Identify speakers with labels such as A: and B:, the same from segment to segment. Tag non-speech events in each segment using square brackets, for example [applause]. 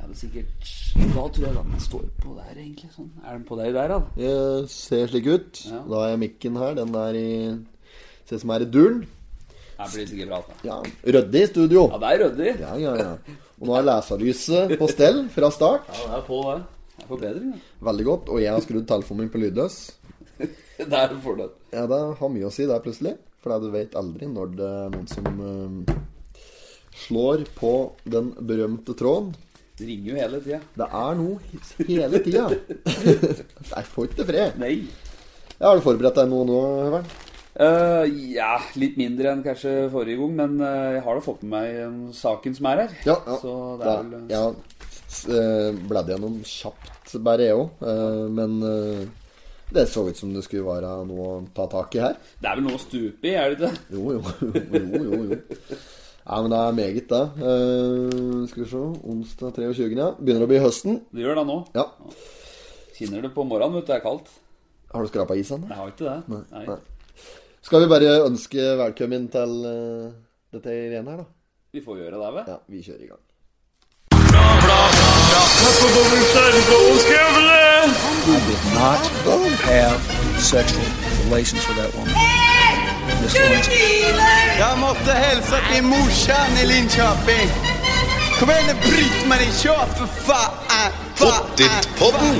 A: vel sikkert Da tror jeg den står på der, egentlig. Sånn. Er den på deg der, da?
B: Jeg ser slik ut.
A: Ja.
B: Da har jeg mikken her. Den er i Ser ut som er i duren.
A: Det blir sikkert bra. Da.
B: Ja, Ryddig i studio.
A: Ja, det er ryddig.
B: Ja, ja, ja. Og nå er leselyset på stell fra start.
A: Ja, det er på, det. Det er forbedring, da.
B: Veldig godt. Og jeg har skrudd telefonen min på lydløs.
A: [laughs] Det er en fordel.
B: Ja, Det har mye å si der plutselig. For du vet aldri når det er noen som eh, slår på den berømte tråden.
A: Det ringer jo hele tida.
B: Det er noe hele tida. [laughs] Jeg får ikke fred.
A: Nei.
B: Ja, har du forberedt deg noe nå, Høveren?
A: Eh, ja, litt mindre enn kanskje forrige gang, men eh, jeg har da fått med meg eh, saken som er her.
B: Ja, ja.
A: Så det
B: Da,
A: er vel eh,
B: ja, s- eh, bladde gjennom kjapt bare jeg òg, men eh, det så ut som det skulle være noe å ta tak i her.
A: Det er vel noe å stupe i, er det ikke det?
B: Jo, [laughs] jo, jo, jo, jo. Ja, men det er meget, det. Eh, skal vi se Onsdag 23. Ja. Begynner å bli høsten.
A: Det gjør det nå.
B: Ja.
A: Kjenner det på morgenen, vet du. Det er kaldt.
B: Har du skrapa isen?
A: Jeg har ikke det. Nei.
B: Nei. Skal vi bare ønske velkommen til eh, dette greiene her, da?
A: Vi får gjøre det, vel.
B: Ja, vi kjører i gang.
C: not have sexual relations with that woman. Miss Lewinsky.
D: Jeg måtte hilse til morsan i Linköping. Kom igjen, Britt-Marie, kjør, for faen! Pottit-podden!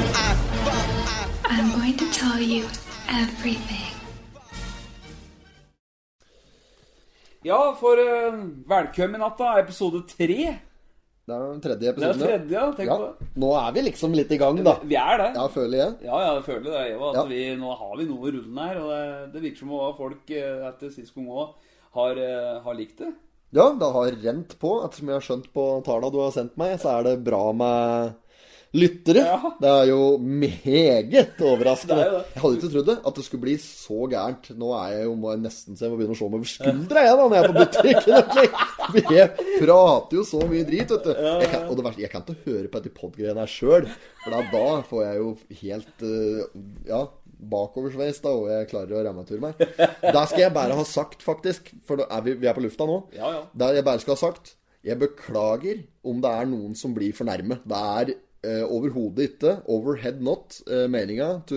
E: I'm going to tell you everything.
A: Ja, for eh, velkommen i natt, da. Episode tre.
B: Det er den tredje
A: Det er
B: episoden.
A: tredje, ja. Tenk
B: ja.
A: på det.
B: Nå er vi liksom litt i gang, da.
A: Vi er det.
B: Ja, føler jeg.
A: Ja, jeg føler det, jeg òg.
B: Ja.
A: At vi, nå har vi noe rullende her. Og det, det virker som om folk eh, etter sist gang òg har, eh, har likt det.
B: Ja, det har rent på. Ettersom jeg har skjønt på tallene du har sendt meg, så er det bra med lyttere.
A: Ja.
B: Det er jo meget
A: Det
B: overraskende.
A: er jo det.
B: Jeg hadde ikke trodd det, at det skulle bli så gærent. Nå er jeg jo må jeg nesten så jeg må begynne å se meg over skuldra jeg, da, når jeg er på butikken. [laughs] egentlig. For Jeg prater jo så mye drit, vet du. Jeg kan, og det verste, jeg kan ikke høre på dette podgreiene her sjøl. For da- da får jeg jo helt eh, Ja. Bakoversveis, da, og jeg klarer å remature meg. Der skal jeg bare ha sagt, faktisk, for da er vi, vi er på lufta nå.
A: Ja, ja.
B: Der jeg bare skal ha sagt Jeg beklager om det er noen som blir fornærmet. Det er eh, overhodet ikke overhead not eh, meninga to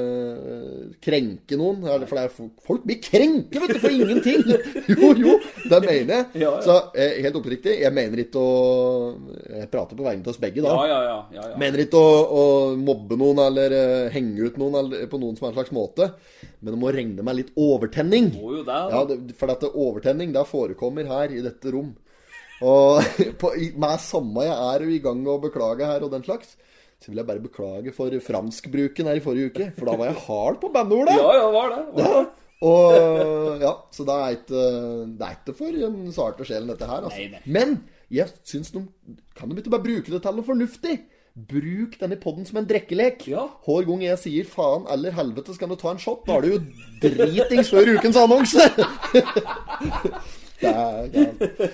B: eh, krenke noen. Eller, for det er, folk- folk blir krenket, vet du,
A: [laughs]
B: for ingenting! Jo, jo, det mener jeg.
A: Ja, ja.
B: Så eh, helt oppriktig, jeg mener ikke å Jeg prater på vegne av oss begge, da.
A: Ja, ja, ja. ja, ja.
B: Mener ikke å, å mobbe noen eller eh, henge ut noen eller, på noen som er en slags måte, men det må regne med litt overtenning.
A: Må jo det. da.
B: Ja, det, for dette overtenning, det forekommer her i dette rom. Og [laughs] på, i- med samme jeg er jo i gang med å beklage her og den slags, så vil jeg bare beklage for franskbruken her i forrige uke, for da var jeg hard på bandeordet.
A: Ja, ja, det var det. Var det.
B: Og ja, så det er ikke, det er ikke for den sarte sjelen, dette her. Altså.
A: Nei, nei.
B: Men jeg syns de Kan de ikke bare bruke det til noe fornuftig? Bruk denne podden som en drikkelek.
A: Ja.
B: Hver gang jeg sier 'faen eller helvete', så kan du ta en shot. Da er det jo dritings før ukens annonse! det er, ja.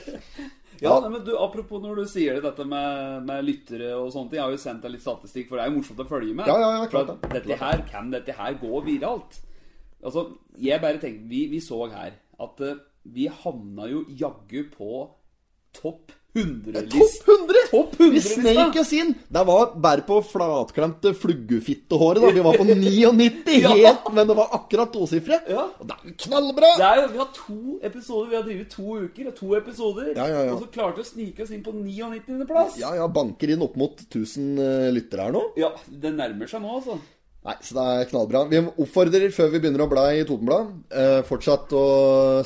A: Ja, nei, men du, Apropos når du sier det, dette med, med lyttere og sånne ting. Jeg har jo sendt deg litt statistikk, for det er jo morsomt å følge med.
B: Ja, ja, ja,
A: For
B: klart
A: at
B: det.
A: dette her, Kan dette her gå viralt? Altså, jeg bare tenkte Vi, vi så her at eh, vi havna jo jaggu på topp 100-list.
B: Topp 100!
A: Topp
B: Vi
A: 100
B: sneik oss inn! Det var bare på flatklemte fluggefittehåret, da.
A: [laughs]
B: Vi var på 99
A: Ja.
B: helt, men det var akkurat tosifre.
A: Ja.
B: Og det er jo knallbra!
A: Det er jo, Vi har to episoder, vi har drevet to uker og to episoder.
B: Ja, ja, ja.
A: Og så klarte vi å snike oss inn på 99. plass.
B: Ja, ja, banker inn opp mot 1000 eh, lyttere her nå.
A: Ja, Det nærmer seg nå, altså.
B: Nei, så det er knallbra. Vi oppfordrer før vi begynner å bla i Totenblad, eh, fortsatt å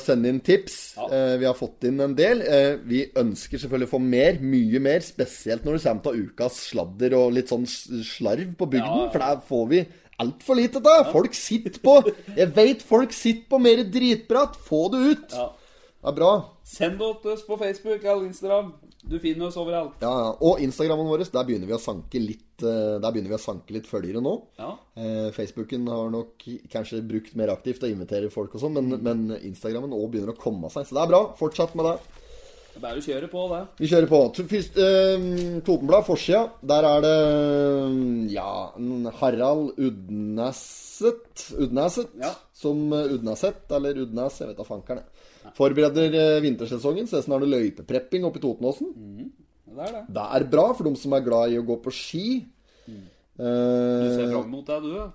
B: sende inn tips.
A: Ja.
B: Eh, vi har fått inn en del. Eh, vi ønsker selvfølgelig å få mer, mye mer, spesielt når det kommer til ukas sladder og litt sånn s- slarv på bygden,
A: Ja.
B: for der får vi altfor lite av. Folk sitter på Jeg veit folk sitter på mer dritprat. Få det ut!
A: Ja.
B: Det er bra.
A: Send det til oss på Facebook eller Instagram. Du finner oss overalt.
B: Ja, ja. Og Instagrammen vår, der begynner vi å sanke litt, eh, der begynner vi å sanke litt følgere nå.
A: Ja.
B: Eh, Facebooken har nok kanskje brukt mer aktivt å invitere folk og sånn, men,
A: Mm.
B: men Instagrammen òg begynner å komme seg. Så det er bra. Fortsett med det.
A: Det er bare å kjøre på, det.
B: Vi kjører på. To- Først, eh, Totenblad, forsida. Der er det eh, ja, en Harald Udneset Udneset?
A: Ja.
B: Som eh, Udneset, eller
A: Mm.
B: Udnes, jeg vet da fankeren. jeg. Forbereder eh, vintersesongen. Så nesten har du løypeprepping oppe i Totenåsen.
A: Det er det.
B: Det er bra for dem som er glad i å gå på ski.
A: Mm. Du ser
B: Eh,
A: fram mot deg, du.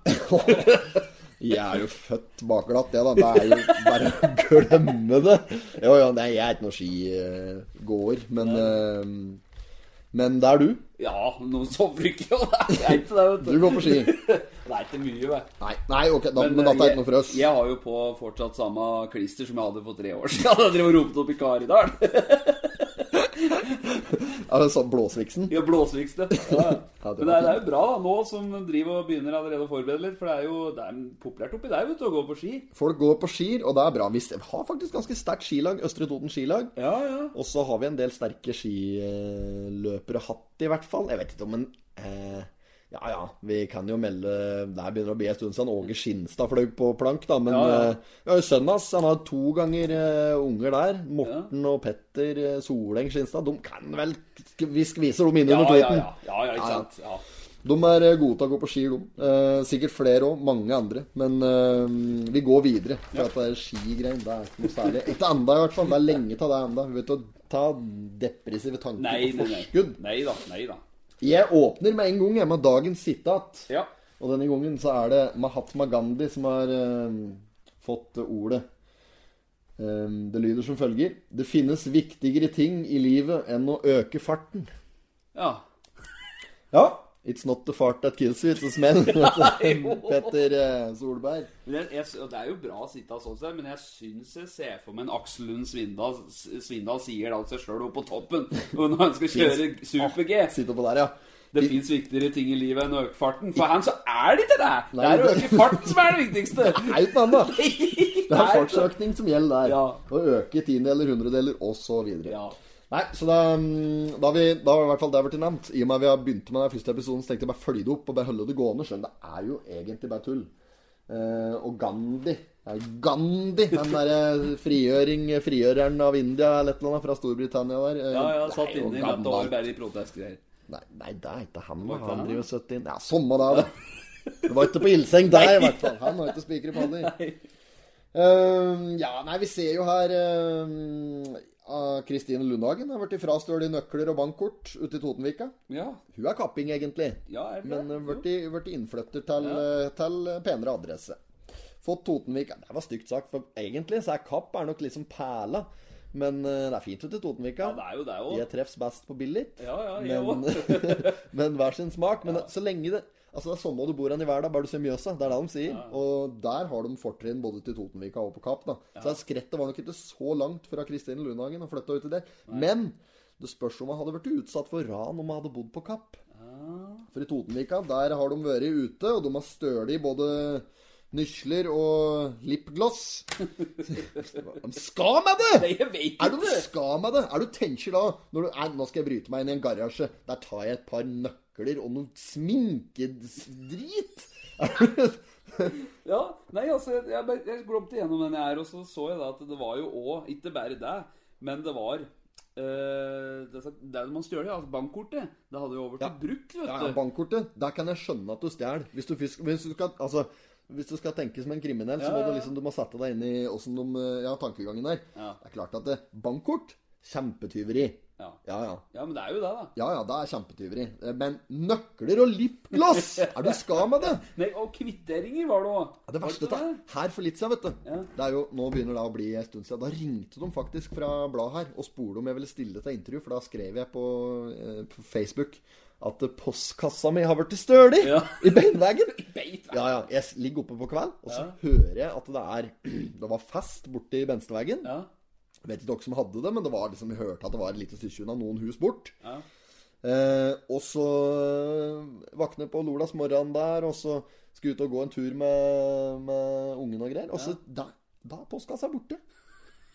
B: jeg er jo født bakglatt, jeg, da. Det er jo bare å glemme det. Jo, jo, nei, jeg er ikke noen skigåer, men eh, Men det er du.
A: Ja, noe så fryktelig. og [laughs] Det er greit, det, vet
B: Du går på ski.
A: Det er ikke mye, vet eh,
B: Nei, nei ok, da, men, dette er ikke noe for oss.
A: Jeg, jeg har jo på fortsatt samme klister som jeg hadde for tre år siden. [laughs] Jeg drev og ropte opp i Karidal.
B: Altså, Blåsviksen?
A: Ja, blåsvikste. Ja.
B: Ja, det var
A: Men det er, det er
B: fint.
A: jo bra da, nå som driver og begynner allerede å forberede litt. For det er jo det er populært oppi der, vet du, å gå på ski.
B: Folk går på skier, og det er bra. Vi har faktisk ganske sterkt skilag, Østre Toten skilag.
A: Ja, ja.
B: Og så har vi en del sterke skiløpere hatt, i hvert fall. Jeg vet ikke om en eh, Ja ja, vi kan jo melde Det her begynner å bli en stund siden Åge Skinstad fløy på plank, da. Men
A: Ja, ja.
B: eh, ja, sønnen hans, han har to ganger eh, unger der. Morten og Petter eh, Soleng Skinstad. De kan vel Vi skviser dem inn
A: Ja,
B: under
A: ja,
B: kvoten.
A: ja. ja, ja ikke
B: Ja, ja.
A: sant. Ja.
B: De er eh, gode til å gå på ski, de. Eh, sikkert flere òg. Mange andre. Men eh, vi går videre. For at det er skigrein, det er ikke noe særlig. Ikke enda, i hvert fall. Det er lenge til det enda. Vi vet å ta depressive tanker
A: Nei, nei,
B: på
A: nei.
B: forskudd.
A: Nei da. Nei da.
B: Jeg åpner med en gang jeg, med dagens sitat.
A: Ja.
B: Og denne gangen så er det Mahatma Gandhi som har eh, fått ordet. Eh, det lyder som følger Det finnes viktigere ting i livet enn å øke farten.
A: ja.
B: Ja. It's not the fart that kills you, it's
A: [laughs]
B: the smell. Petter eh, Solberg.
A: Men jeg, jeg, og det er jo bra å sitte av sånn sett, men jeg syns jeg ser for meg en Aksel Lund Svindal, Svindal sier det av seg sjøl oppe på toppen [laughs] og når han skal kjøre super-G.
B: Sitter på der, ja.
A: Det fins viktigere ting i livet enn å øke farten. For han så er det ikke det! Det
B: Nei,
A: er å
B: det-
A: øke farten som er det
B: [laughs]
A: viktigste.
B: Det er jo ikke noe annet. Det
A: Nei,
B: er fartsøkning som gjelder der.
A: Ja.
B: Å øke tiendedeler, hundredeler osv.
A: Ja.
B: Nei, så da, mm, da, har vi, da har i hvert fall det blitt nevnt. I og med at vi har begynt med den første episoden, så tenkte jeg bare følge det opp og bare holde det gående. Skjønn, det er jo egentlig bare tull. Eh, og Gandhi det er Gandhi, den derre frigjøring, frigjøreren av India eller et eller annet fra Storbritannia der. eh,
A: Ja, ja,
B: det er
A: satt
B: jo
A: inni i dette
B: gammelt.
A: år bare i protestgreier.
B: Nei, nei, det er ikke han.
A: Var ikke
B: Han
A: han,
B: driver 70 inn. Ja, samme det,
A: [laughs]
B: da. Det var ikke på ildseng der, i hvert fall. Han har
A: [laughs]
B: ikke spiker i panner. Ehm, ja, nei, vi ser jo her ehm, ah, Kristine Lundhagen har blitt frastjålet nøkler og bankkort ute i Totenvika.
A: Ja,
B: Hun er kapping, egentlig,
A: ja, er det
B: men
A: det?
B: eh, blitt i- blitt innflytter til, eh, til eh, penere adresse. Fått Totenvika Det var stygt sagt, for egentlig så er Kapp er nok liksom perla. Men eh, det er fint ute i Totenvika.
A: Ja, det er jo det òg.
B: Jeg treffs best på billig.
A: Ja, ja, jeg
B: men, [laughs] men hver sin smak. Men så lenge det Altså Det er samme hvor du bor hen i verden, bare du ser Mjøsa. Det er det de sier. Og der har de fortrinn både til Totenvika og på Kapp. da Så skrettet var nok ikke så langt fra Kristine Lundhagen og flytta ut til der. Men det spørs om hun hadde blitt utsatt for ran om hun hadde bodd på Kapp.
A: Ah.
B: For i Totenvika, der har de vært ute, og de har stølig både nysler og lipgloss.
A: [laughs]
B: de skal med det!
A: [laughs] Nei, jeg vet
B: Er du
A: ikke.
B: skal med det? Er du tenker da når du, nei, Nå skal jeg bryte meg inn i en garasje. Der tar jeg et par nøkler og noe sminkedrit. [laughs] Er du-
A: Ja, nei, altså, jeg, jeg, bare- jeg glomte gjennom den jeg er, og så så jeg da at det var jo òg Ikke bare det, men det var eh, det, det man stjal, altså bankkortet, det hadde jo over til
B: Ja.
A: bruk, vet
B: Ja, ja,
A: du.
B: bankkortet. Der kan jeg skjønne at du stjeler. Hvis, du fisk- hvis, du skal- altså, hvis du skal tenke som en kriminell, så må
A: Ja,
B: du
A: ja.
B: liksom Du må sette deg inn i åssen de eh, Ja, tankegangen der.
A: Ja.
B: Det er klart at det, bankkort kjempetyveri.
A: Ja.
B: Ja, ja.
A: ja, men det er jo det, da.
B: Ja ja, det er kjempetyveri. Eh, Men nøkler og
A: [laughs]
B: lipgloss! Er du skal med det?
A: Nei, og kvitteringer var det òg.
B: Ja, det verste det er, her for litt siden, vet du.
A: Ja.
B: Det er jo, nå begynner det å bli en stund siden. Da ringte de faktisk fra bladet her og spurte om jeg ville stille til intervju, for da skrev jeg på, eh, på Facebook at eh, postkassa mi har blitt stølig
A: Ja.
B: i beinveggen.
A: Beit,
B: Ja, ja. Jeg s- ligger oppe på kveld, og så hører jeg at det er [clears throat] Det var fest borte i Bensteveggen.
A: ja.
B: Vet ikke dere som hadde det, men det var liksom, vi hørte at det var et lite stykke unna noen hus bort.
A: Ja.
B: Eh, og så eh, våkner på lørdags morgen der, og så skal ut og gå en tur med, med ungen og greier. Og så da, da er postkassa borte.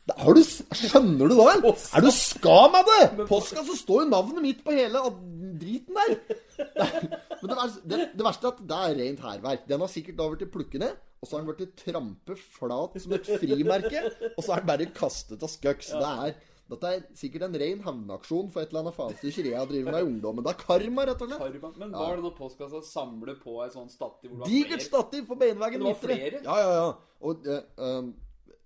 B: Da, har du, s- skjønner du da? eller? Er du skam av det? Postkassa står jo navnet mitt på hele ad- driten der. Men det, vers- det, det verste er at det er rent hærverk. Den har sikkert da blitt plukket ned, og så har den blitt trampe flat som et frimerke, og så er den bare kastet av skucks. Det er dette er sikkert en ren hevnaksjon for et eller annet faenstykker jeg har drevet med i ungdommen. Det er karma, rett og slett.
A: Karma. Men var det når postkassa samler på ei sånn stativ hvor det var
B: Digert stativ på beinveggen.
A: Det var
B: midtre.
A: flere?
B: Ja, ja, ja. Og eh, eh,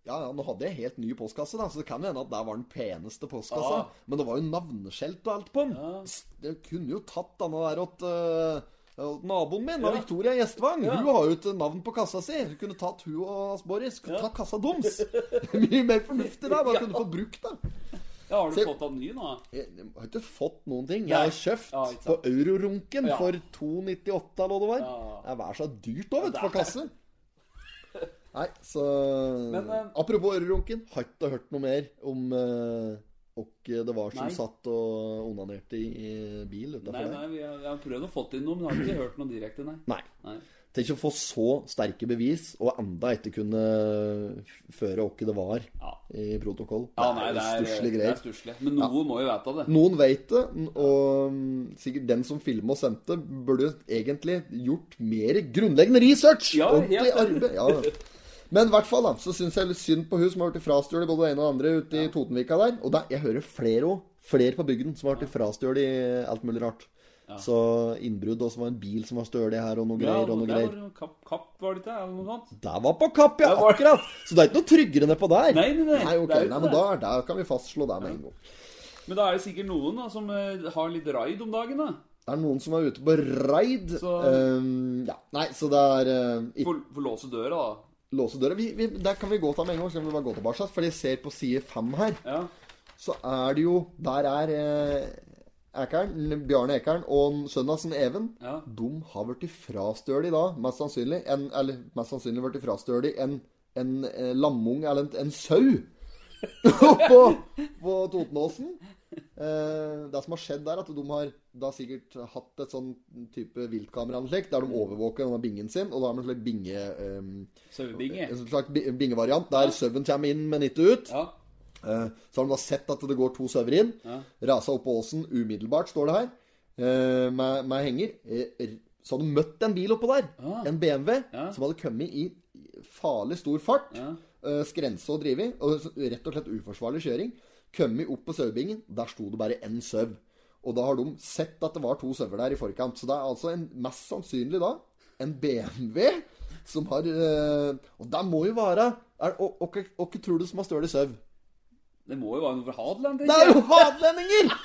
B: Ja, ja, nå hadde jeg helt ny postkasse, da, så det kan jo hende at der var den peneste postkassa.
A: Ja.
B: Men det var jo navneskjelt og alt på den. Jeg kunne jo tatt denne der åt øh, åt naboen min,
A: Ja.
B: av Victoria Gjestvang.
A: Ja.
B: Hun har jo et navn på kassa si. Hun kunne tatt hun og As Boris. Kunne tatt kassa deres.
A: [laughs]
B: Mye mer fornuftig da. Bare kunne få brukt det.
A: Ja, har du
B: Se-
A: fått av ny nå?
B: Jeg, jeg har ikke fått noen ting.
A: Nei.
B: Jeg har kjøpt
A: Ja, ikke
B: på
A: sant.
B: Eurorunken
A: Ja.
B: for 2,98 eller hva det var.
A: Ja.
B: Det er vær så dyrt òg, vet du,
A: Ja, det
B: for
A: [laughs]
B: kasse. Nei, så
A: Men, eh,
B: Apropos Eurorunken, har ikke hørt noe mer om eh, og det var som
A: Nei.
B: satt og onanerte i, i bil
A: Nei,
B: utafor
A: nei,
B: der.
A: vi har, jeg har prøvd å få til noe, men har ikke hørt noe direkte, nei.
B: Nei.
A: nei.
B: Tenk å få så sterke bevis, og enda ikke kunne føre åkke det var
A: Ja.
B: i protokoll.
A: Ja, nei, det er
B: stusslige
A: det er
B: greier.
A: stusslig. Men noe må jo vite av det.
B: Noen vet det, og mm, sikkert den som filma og sendte, burde egentlig gjort mer grunnleggende research!
A: Ja, helt
B: ordentlig arbeid. Ja. Men i hvert fall da, så syns jeg litt synd på hun som har blitt frastjålet både det ene og det andre ute i Totenvika der. Og da, jeg hører flere òg. Flere på bygden som har blitt frastjålet i alt mulig rart. Så innbrudd, og så var det en bil som var stølig her, og noe greier, og noe
A: der var
B: greier.
A: det kapp, kapp var det ikke, eller noe sånt?
B: Der var på kapp, ja!
A: Der var-
B: Akkurat! Så det er ikke noe tryggere nedpå der.
A: Nei, nei, nei,
B: nei, ok,
A: det er jo ikke
B: nei
A: det.
B: men da, da kan vi fastslå det med en gang.
A: Men da er det sikkert noen da, som eh, har litt raid om dagen, da.
B: Det er noen som er ute på raid.
A: Så-
B: Ehm, ja. Nei, så det er eh, ikke
A: Får får låse døra, da.
B: låse døra. Vi, vi, der kan vi gå ta med en gang, så kan vi bare gå tilbake. For jeg ser på side fem her,
A: Ja.
B: så er det jo Der er eh, Ekern, Bjarne Ekern og sønnesen Even.
A: Ja.
B: De har blitt frastølet da, mest sannsynlig. En, eller mest sannsynlig blitt frastølet en, en eh, lammung eller en, en sau. [laughs] på, på Totenåsen. Eh, det som har skjedd der, er at de har da sikkert hatt et sånn type viltkameraanlegg der de overvåker denne bingen sin, og da har de en slags binge... eh,
A: Sauebinge.
B: en slags bi- bingevariant der sauen kommer inn, men ikke ut.
A: Ja.
B: Eh, Så har de da sett at det går to sauer inn. Rasa opp på åsen umiddelbart, står det her, eh, med, med henger. Eh, r- Så hadde de møtt en bil oppå der, en BMW, som hadde kommet i farlig stor fart. eh, Skrense og drive. Og så- rett og slett uforsvarlig kjøring. Kommet opp på sauebingen. Der sto det bare én sau. Og da har de sett at det var to sauer der i forkant. Så det er altså en, mest sannsynlig da en BMW som har eh, Og der må jo være er- og- og- og Hva tror du som har støl i sau?
A: Det må jo være noe fra Hadeland,
B: Det er
A: tenker jeg.
B: jo hadlendinger!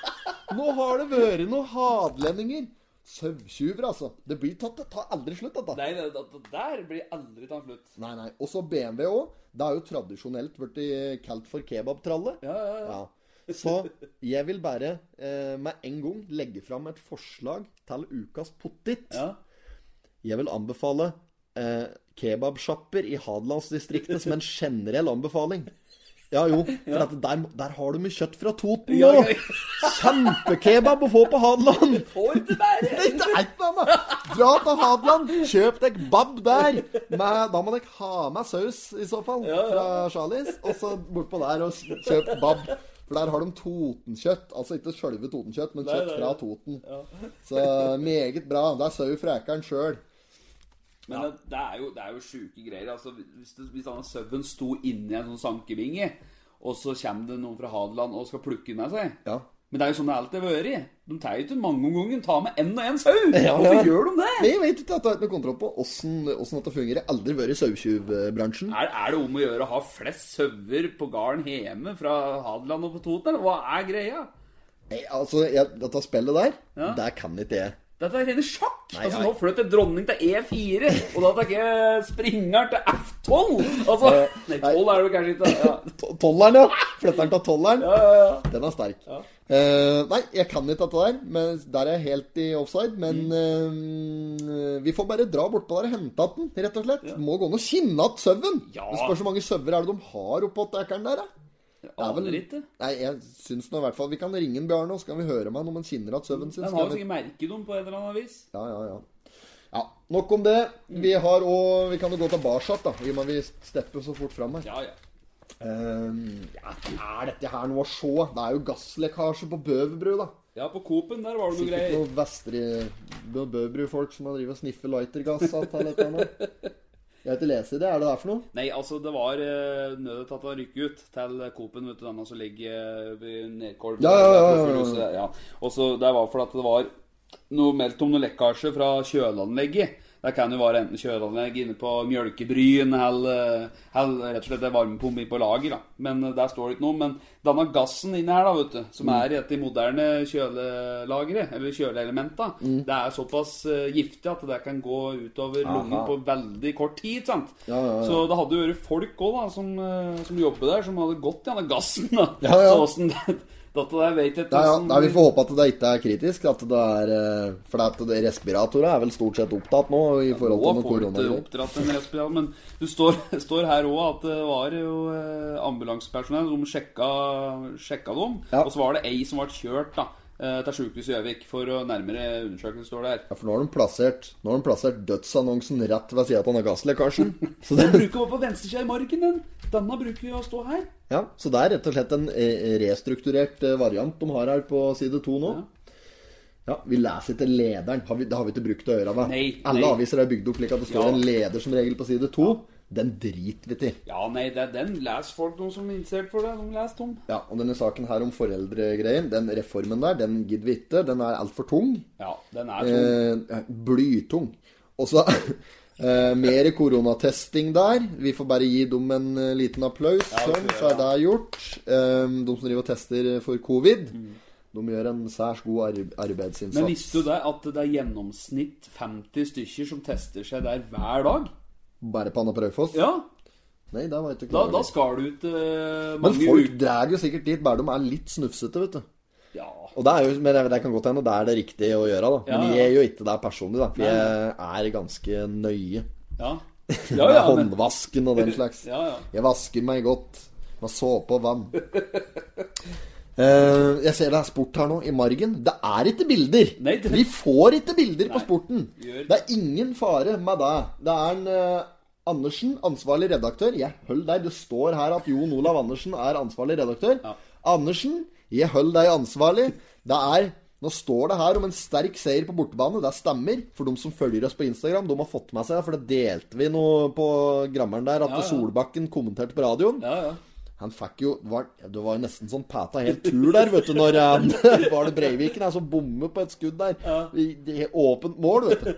B: Nå har det vært noen hadlendinger. Sauetjuver, altså. Det blir tatt, det tar aldri slutt, dette.
A: Nei, det, det, det der blir aldri tatt slutt.
B: Nei, nei. Og så BMW òg. Det er jo tradisjonelt blitt eh, kalt for kebabtralle.
A: Ja, ja, ja.
B: Ja. Så jeg vil bare eh, med en gang legge fram et forslag til ukas pottit.
A: ja.
B: Jeg vil anbefale eh, kebabsjapper i Hadelandsdistriktet som en generell anbefaling. Ja jo, for at der, der har du mye kjøtt fra Toten
A: Ja,
B: nå!
A: ja.
B: Kjempekebab å få på Hadeland!
A: [laughs] Får ikke være!
B: Nei, det er ikke noe annet. Dra til Hadeland, kjøp deg bab der. Men da må dere ha med saus, i så fall, fra Charlies. Og så bortpå der og kjøp bab. For der har de Totenkjøtt. Altså ikke sjølve Totenkjøtt, men kjøtt
A: nei,
B: fra
A: nei.
B: Toten. Så meget bra. Det er sau fra Ekeren sjøl.
A: Men det, det er jo, det er jo sjuke greier. Altså, hvis, det, hvis denne sauen sto inni en sånn sankevinge, og så kommer det noen fra Hadeland og skal plukke den med seg
B: Ja.
A: Men det er jo sånn det alltid har vært. De tar jo ikke mange om gangen. Ta med én og én sau!
B: Ja,
A: Hvorfor
B: ja.
A: gjør de det?
B: Men jeg vet ikke at jeg har ikke noe kontroll på åssen åssen dette fungerer. Jeg har Aldri vært i sauetjuvbransjen.
A: Er, er det om å gjøre å ha flest sauer på gården hjemme fra Hadeland og på Toten? Eller hva er greia?
B: Nei, Altså, jeg, dette spillet der,
A: Ja.
B: der kan ikke jeg.
A: Dette er rene sjakk!
B: Nei,
A: altså,
B: nei.
A: Nå fløt en dronning til E4, og da tar jeg springeren til F12! Altså, nei, 12 er det vel kanskje ikke. Ja.
B: To- Tolleren, ja. Flytteren av tolleren.
A: Ja, ja, ja.
B: Den er sterk. Eh, nei, jeg kan ikke dette der. Men der er jeg helt i offside. Men
A: Mm.
B: eh, vi får bare dra bortpå der og hente at den, rett og slett. Må gå an å kinne att sauen.
A: Ja.
B: Det spørs hvor mange sauer er det de har oppå ekeren der, da. Det er vel-
A: Aner ikke.
B: Nei, jeg syns nå i hvert fall Vi kan ringe en Bjarne, og så kan vi høre med han om han kinner att sauen sin.
A: Den
B: Skal
A: har jo
B: vi-
A: sikkert merket dem på et eller annet vis.
B: Ja, ja, ja. Ja, Nok om det. Vi har òg Vi kan jo gå tilbake, da, i og med at vi stepper så fort fram her.
A: Ja, ja.
B: Eh, ja, er dette her noe å se? Det er jo gasslekkasje på Bøverbru, da.
A: Ja, på Coop-en der var det noe
B: Sikkert
A: greier.
B: noen vestre noen Bøbru-folk som har drivet og sniffet lightergass alt eller et eller annet. Jeg har ikke lest i det. Er det der for noe?
A: Nei, altså, det var eh, nødet at han rykket ut til Coop-en, vet du, den som ligger eh, ved nedkolv.
B: Ja, ja, ja, ja, ja.
A: ja, Og så det var fordi at det var noe meldt om noe lekkasje fra kjøleanlegget. Det kan jo være enten kjøreanlegg inne på mjølkebryn eller, eh, eller rett og slett en varmepumpe på lager. Da. Men eh, der står det ikke noe. Men denne gassen inni her, da, vet du,
B: Mm.
A: som er i de moderne kjølelagre, eller kjøleelementa,
B: Mm.
A: det er såpass eh, giftig at det kan gå utover lungen på veldig kort tid. ikke sant?
B: Ja, ja, ja.
A: Så det hadde jo vært folk òg som, eh, som jobber der, som hadde gått i denne gassen. da.
B: Ja, ja.
A: Så åssen det Dette der vet jeg ikke
B: Nei, ja,
A: hvordan-
B: nei, vi får håpe at det ikke er kritisk. At det er, eh, for det at det- respiratorer er vel stort sett opptatt nå i forhold
A: Nå
B: til
A: får
B: noe
A: du ikke
B: korona.
A: oppdratt en respirator, men du står, [laughs] står her òg at det var jo eh, ambulansepersonell som sjekka, sjekka dem.
B: Ja.
A: Og så var det ei som ble kjørt da, eh, til sykehuset i Gjøvik for å nærmere undersøkelse, står det her.
B: Ja, for nå har de plassert, nå har de plassert dødsannonsen rett ved sida av denne
A: [laughs]
B: gasslekkasjen. Så
A: Den
B: det,
A: bruker vi på venstresida i marken, den. Denne bruker vi å stå her.
B: ja, så det er rett og slett en eh, restrukturert eh, variant de har her på side to nå. Ja, Vi leser ikke lederen. Har vi, det har vi ikke brukt å gjøre med.
A: Nei,
B: Alle
A: nei.
B: aviser er bygd opp slik at det står
A: Ja.
B: en leder som regel på side to. Den driter vi til.
A: Ja, nei, det er den. Les folk, noen som er interessert for det. De leser tom.
B: Ja, og denne saken her om foreldregreien, den reformen der, den gidder vi ikke. Den er altfor tung.
A: Ja, den er tom.
B: Eh, blytung. Og så [laughs] eh, mer koronatesting der. Vi får bare gi dem en eh, liten applaus. sånn, så er det gjort. Eh, de som driver og tester for covid, de gjør en særs god arbe- arbeidsinnsats.
A: Mm. Men visste du det at det er gjennomsnitt 50 stykker som tester seg der hver dag?
B: Bare på Anna Prøyfoss?
A: Ja,
B: Nei, det var jeg
A: da,
B: ikke klar
A: da
B: over.
A: skal du ut eh,
B: Men
A: mange
B: folk
A: uker.
B: drar jo sikkert dit bare de er litt snufsete, vet du.
A: Ja.
B: Og det er jo, men det det kan godt hende det er det riktige å gjøre, da. Men
A: Ja, ja.
B: jeg gjør jo ikke det personlig, da. For jeg er ganske nøye. [laughs]
A: Ja.
B: Med
A: Ja, ja, men,
B: håndvasken og den slags.
A: ja, ja.
B: Jeg vasker meg godt med såpe og vann. [laughs] Eh, jeg ser det er sport her nå, i margen. Det er ikke bilder!
A: Nei, det-
B: Vi får ikke bilder på
A: Nei,
B: sporten!
A: gjør-
B: Det er ingen fare med det. Det er en eh, Andersen, ansvarlig redaktør. Jeg holder deg. Det står her at Jon Olav Andersen er ansvarlig redaktør.
A: Ja.
B: Andersen, jeg holder deg ansvarlig. Det er nå står det her om en sterk seier på bortebane. Det stemmer. For de som følger oss på Instagram, de har fått med seg, for det delte vi noe på grammeren der, at
A: Ja, ja.
B: Solbakken kommenterte på radioen.
A: ja, ja.
B: Han fikk jo var, Det var jo nesten sånn pæta helt tur der, vet du, [laughs] når han Var det Breiviken her som bommer på et skudd der? I, det er åpent mål, vet du.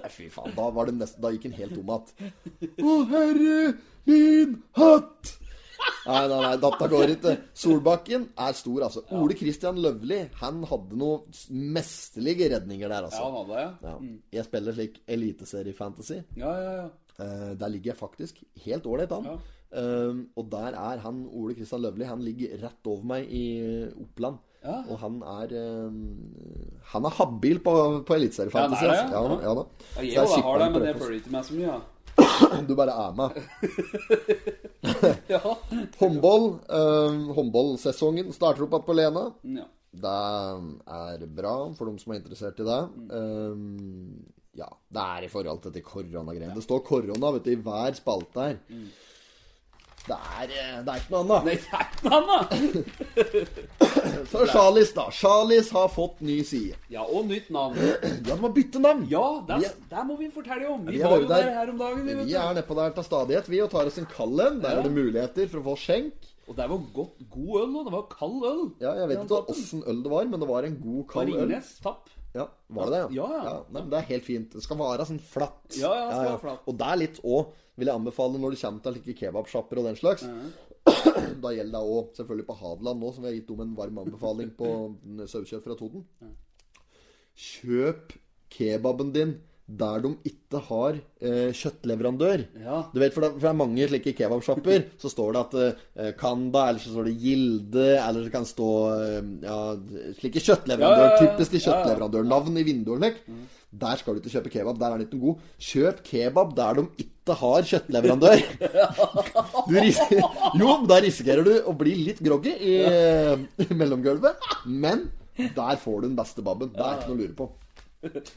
B: Nei, fy faen. Da, var det nesten, da gikk han helt om igjen. Å, herre min hatt! Nei, nei, nei, dette går ikke. Solbakken er stor, altså. Ole Christian Løvli, han hadde noen mesterlige redninger
A: Ja,
B: der,
A: han
B: altså.
A: hadde det, ja.
B: Ja. Jeg spiller slik eliteserie-fantasy.
A: Ja, ja, ja.
B: Eh, der ligger jeg faktisk helt ålreit an.
A: Ja.
B: Um, og der er han Ole Kristian Løvli. Han ligger rett over meg i eh, Oppland.
A: Ja.
B: Og han er um, Han er habil på, på
A: Ja, han er
B: eliteseriefantasy.
A: det,
B: altså.
A: ja.
B: da, ja da.
A: Ja,
B: Så
A: Jeg
B: jeg
A: jo, da
B: skipper
A: har det,
B: han på
A: men det
B: Raufoss.
A: følger ikke meg så mye. [laughs] Ja.
B: Du bare er med.
A: Ja.
B: Håndball. Um, håndballsesongen starter opp igjen på Lena.
A: Ja.
B: Det er bra for dem som er interessert i det. Um, ja, det er i forhold til de koronagreiene. Det står korona vet du, i hver spalte her. Det, er, eh, det er ikke noe annet.
A: Nei, det er ikke noe annet!
B: Så Charlies, da. Charlies har fått ny side. [clears throat]
A: Ja, og nytt navn.
B: Ja, de må bytte navn!
A: Ja, der,
B: Vi-
A: der må vi fortelle om. Vi
B: Vi har
A: var jo
B: vært
A: der
B: der.
A: her om dagen, vi,
B: Vi
A: vet du.
B: er nedpå der til stadighet, vi, og tar oss en kald en. Der
A: Ja.
B: er det muligheter for å få skjenk.
A: Og det var godt, god øl, og det var kald øl.
B: Ja, Jeg vet
A: Ja,
B: ikke
A: toppen.
B: åssen øl det var, men det var en god,
A: På
B: kald øl.
A: Ringnes Tapp.
B: Ja, Var det det,
A: Ja, ja.
B: nei, men Det er helt fint. Det skal være sånn flatt.
A: Ja, ja, det skal være flatt.
B: Og det er litt òg, vil jeg anbefale, når det kommer til like kebabsjapper og den slags. [clears throat] Da gjelder det òg selvfølgelig på Hadeland nå, som vi har gitt dem en varm anbefaling på sauekjøtt fra Toten. Kjøp kebaben din der de ikke har eh, kjøttleverandør.
A: Ja.
B: Du vet, for det, for det er mange slike
A: [laughs]
B: kebabsjapper. Så står det at eh, Kanda, eller så står det Gilde, eller det kan stå eh, ja, slike kjøttleverandør,
A: Ja, ja, ja.
B: typiske
A: Ja, Mm. ja.
B: kjøttleverandørnavn i vinduene. slik. Der skal du ikke kjøpe kebab. Der er den ikke noe god. Kjøp kebab der de ikke har
A: [laughs]
B: kjøttleverandør. Du ris jo, men da risikerer du å bli litt groggy [laughs] i eh, mellomgulvet, men der får du den beste babben. Det er ikke noe å lure på.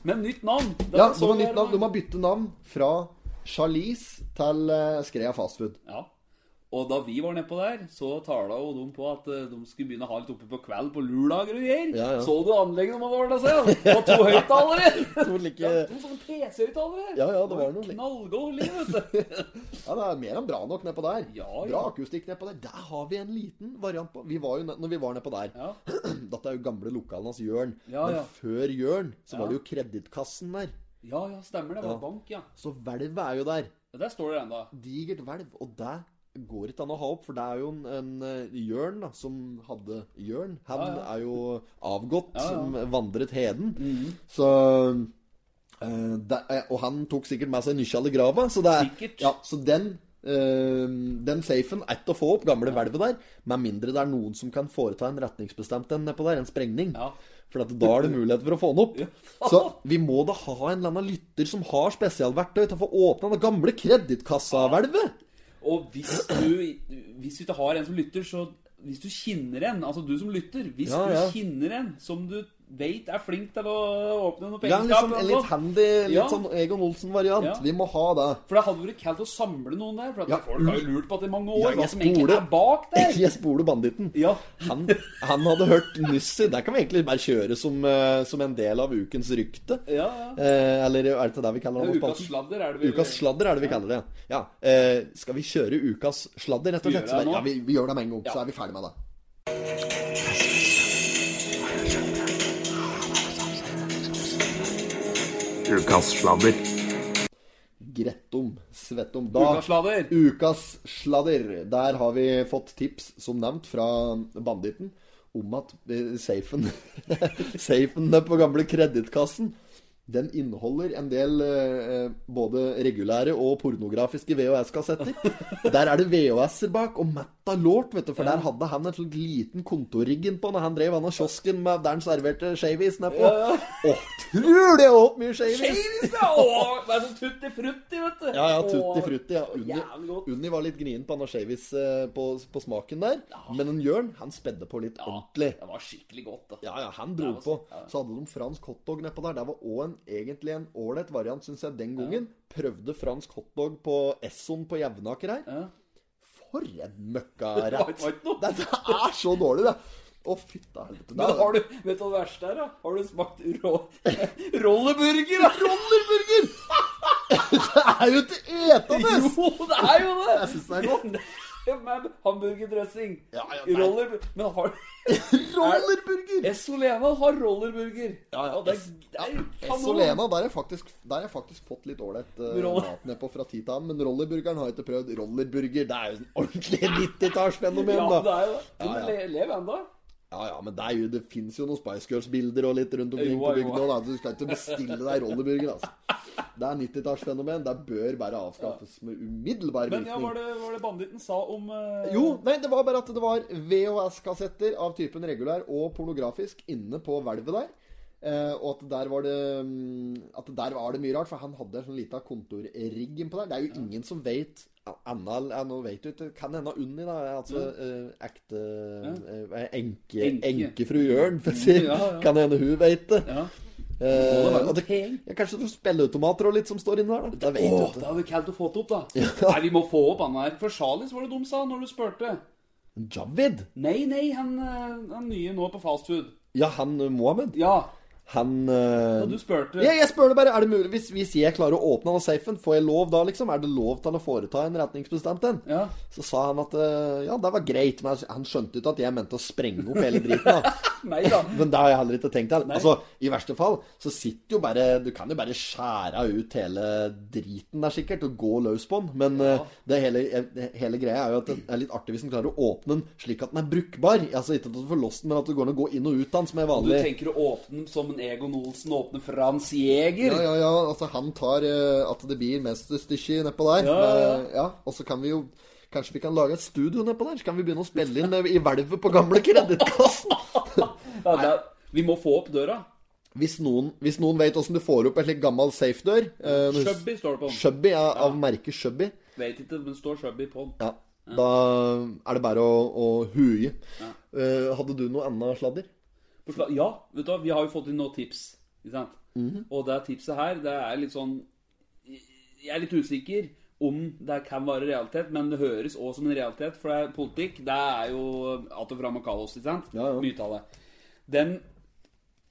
A: Men nytt navn. Det
B: Ja,
A: var
B: du må,
A: sånn
B: nytt
A: der,
B: navn, du må bytte navn fra Charlize til eh, Skrea fastfood.
A: Ja. Og da vi var nedpå der, så tala jo de på at eh, de skulle begynne å ha litt oppe på kveld på lørdager og greier.
B: Ja, ja.
A: Så du anlegget de hadde ordna seg? Det var to høyttalere!
B: [laughs] To like-
A: ja, to sånne PC-høyttalere!
B: Ja, ja, det var noe litt-
A: Knallgårlig, vet du.
B: Ja, det er mer enn bra nok nedpå der.
A: Ja, ja.
B: Bra akustikk nedpå der. Der har vi en liten variant på. Vi var jo, ne- når vi var nedpå der
A: Ja.
B: [clears throat] Dette er jo gamle lokalen hans, Jørn.
A: Ja, ja.
B: Men før Jørn
A: Ja.
B: så var det jo kredittkassen der.
A: Ja, ja, stemmer det. Det var
B: Ja.
A: bank, ja.
B: Så hvelvet er jo der.
A: Ja, Der står det ennå.
B: Digert hvelv. Og det går ikke an å ha opp, for det er jo en, en eh, Jørn da, som hadde Jørn. Han
A: ja.
B: er jo avgått,
A: ja. Mhm.
B: som vandret heden. Så eh, det, eh, Og han tok sikkert med seg nykjall i grava, så det er
A: Sikkert.
B: Ja, så den eh, den safen er ikke å få opp, gamle hvelvet der, med mindre det er noen som kan foreta en retningsbestemt en nedpå der, en sprengning.
A: Ja.
B: For at da er det mulighet for å få den opp. Så vi må da ha en eller annen lytter som har spesialverktøy til å få åpna det gamle kredittkassa-hvelvet.
A: Og hvis du, hvis du ikke har en som lytter, så Hvis du kjenner en, altså du som lytter Hvis
B: Ja, ja.
A: du kjenner en som du veit er flink til å åpne noe
B: Ja,
A: pengeskap
B: liksom,
A: eller
B: en
A: noe
B: litt
A: sånt.
B: handy, litt
A: Ja.
B: sånn Egon Olsen-variant.
A: Ja.
B: Vi må ha det.
A: For det hadde vært kaldt å samle noen der. For at
B: Ja.
A: folk har jo lurt på at det i mange år.
B: Ja, jeg
A: hva som egentlig
B: spole.
A: er bak
B: [laughs]
A: der.
B: Jeg spoler banditten.
A: Ja.
B: Han, han hadde hørt nysset. Der kan vi egentlig bare kjøre som, eh, som en del av ukens rykte.
A: Ja, ja.
B: Eh, eller er det ikke det vi kaller
A: Det
B: det?
A: er
B: på
A: Ukas
B: spalten?
A: sladder er det vel.
B: Ukas sladder er det vi kaller det. Ja. Eh, skal vi kjøre ukas sladder, rett og
A: Vi
B: slett?
A: gjør det nå.
B: Så- Ja, vi, vi gjør det med en gang, så
A: Ja.
B: er vi ferdig med det.
F: Ukas sladder.
B: Grettom. Svettom. Da
A: Ukas sladder.
B: Ukas sladder. Der har vi fått tips, som nevnt, fra banditten om at eh, safen [laughs] Safen der på gamle kredittkassen den inneholder en del eh, både regulære og pornografiske VHS-kassetter. Der er det VHS-er bak, og Matta Lort, vet du, for der hadde han en slik liten kontorriggen på når han drev han av kiosken med der han serverte shavies nedpå. Åh, tror det er opp mye shavies!
A: Jeez, ja, å, Det er sånn tutti frutti, vet du.
B: Ja, ja, tutti
A: Å,
B: frutti. Ja.
A: jævlig
B: Unni,
A: godt.
B: Unni var litt grien på Anna Shavis eh, på, på smaken der, men en Jørn, han spedde på litt ordentlig.
A: Det var skikkelig godt, da.
B: Ja, ja, han dro
A: Det
B: på.
A: var- ja.
B: Så hadde de fransk hotdog nedpå der. Det var òg en, egentlig en ålreit variant, syns jeg, den gangen. Prøvde fransk hotdog på Esson på Jevnaker her.
A: Ja.
B: For en
A: Det var
B: møkkarett!
A: ikke- var ikke noe.
B: Dette er så dårlig, det! Å, fytta helvete.
A: Men har du, vet du hva det verste er, da? Har du smakt rå, [laughs] rolleburger? da?
B: Rollerburger! [laughs] det er jo ikke etende!
A: Jo, det er jo det!
B: Jeg synes det er
A: [laughs]
B: godt.
A: Med hamburgerdressing.
B: Ja, ja, nei.
A: Roller, men har [laughs]
B: Rollerburger!
A: Essolena har rollerburger. Ja, ja, det er, det er kanon.
B: Solena, der har jeg faktisk, der har jeg faktisk fått litt ålreit uh,
A: Roll-
B: mat nedpå fra tid til annen. Men rollerburgeren har jeg ikke prøvd. Rollerburger, det er jo sånn ordentlig [laughs] 90-tallsfenomen,
A: Ja, det
B: da.
A: er jo det.
B: Ja,
A: Men
B: ja.
A: le- lev ennå.
B: Ja ja, men det, er jo, det fins jo noen Spice Girls-bilder og litt rundt omkring
A: Jo,
B: på
A: jo.
B: bygda. da. Du skal ikke bestille deg rollerburger, altså. Det er 90-tallsfenomen. Det bør bare avskaffes med umiddelbar
A: Men ja,
B: virkning.
A: var det, var det banditten sa om eh,
B: Jo, nei, det var bare at det var VHS-kassetter av typen regulær og pornografisk inne på hvelvet der. Eh, og at der var det mm, At der var det mye rart, for han hadde en sånn lita kontorrigg innpå der. Det er jo ingen som veit Anna, ja, nå vet du ikke Kan hende Unni, da. er Altså eh, ekte eh, enke,
A: Enke.
B: Enkefru Jørn, for å si.
A: Ja, ja.
B: Kan hende hun veit det.
A: Ja.
B: Eh,
A: være noe
B: og det,
A: peng.
B: ja, kanskje noen spilleautomater og litt som står inni der. Da. Det vet
A: Åh,
B: du ikke.
A: det hadde kaldt å få det opp, da. Nei, vi må få opp han her. For Charlies var det de sa når du spurte.
B: Javid?
A: Nei, nei, han, eh, han nye nå på fastfood.
B: Ja, han eh, Mohammed?
A: Ja,
B: Han eh,
A: da du spurte.
B: Ja, jeg spør det bare, er det mulig, hvis, hvis jeg klarer å åpne den safen, får jeg lov da, liksom? Er det lov til å foreta en retningsbestemt en?
A: Ja.
B: Så sa han at eh, ja, det var greit, men han skjønte ikke at jeg mente å sprenge opp hele driten. da.
A: Nei da.
B: Men det har jeg heller ikke tenkt til. Altså, I verste fall så sitter jo bare Du kan jo bare skjære ut hele driten der, sikkert, og gå løs på den. Men eh, det hele, eh, hele greia er jo at det er litt artig hvis en klarer å åpne den slik at den er brukbar. Altså Ikke at du får låst den, men at det går an å gå inn og ut av den som er
A: Du
B: vanlig.
A: tenker å åpne den som en Egon Olsen åpner Frans Jæger?
B: Ja, ja, ja. Altså, han tar eh, at det blir mesterstykket nedpå der.
A: Ja, ja, ja.
B: Men, eh, ja. Og så kan vi jo Kanskje vi kan lage et studio nedpå der? Så kan vi begynne å spille inn eh, i hvelvet på gamle kredittkassen?
A: Ja, det er- vi må få opp døra.
B: Hvis noen, hvis noen vet åssen du får opp en slik gammel safedør eh, når-
A: Shubby står det på den.
B: Shubby, ja, av merket Shubby.
A: Vet ikke, men står Shubby på den.
B: Ja. Da er det bare å, å huie. Eh, hadde du noe annet sladder?
A: På sla- Ja, vet du hva, vi har jo fått inn noen tips. Ikke sant?
B: Mhm.
A: Og det tipset her, det er litt sånn Jeg er litt usikker om det kan være realitet, men det høres òg som en realitet. For det er politikk, det er jo att og fram og kaos, ikke sant?
B: Ja, ja.
A: Mye av det. Den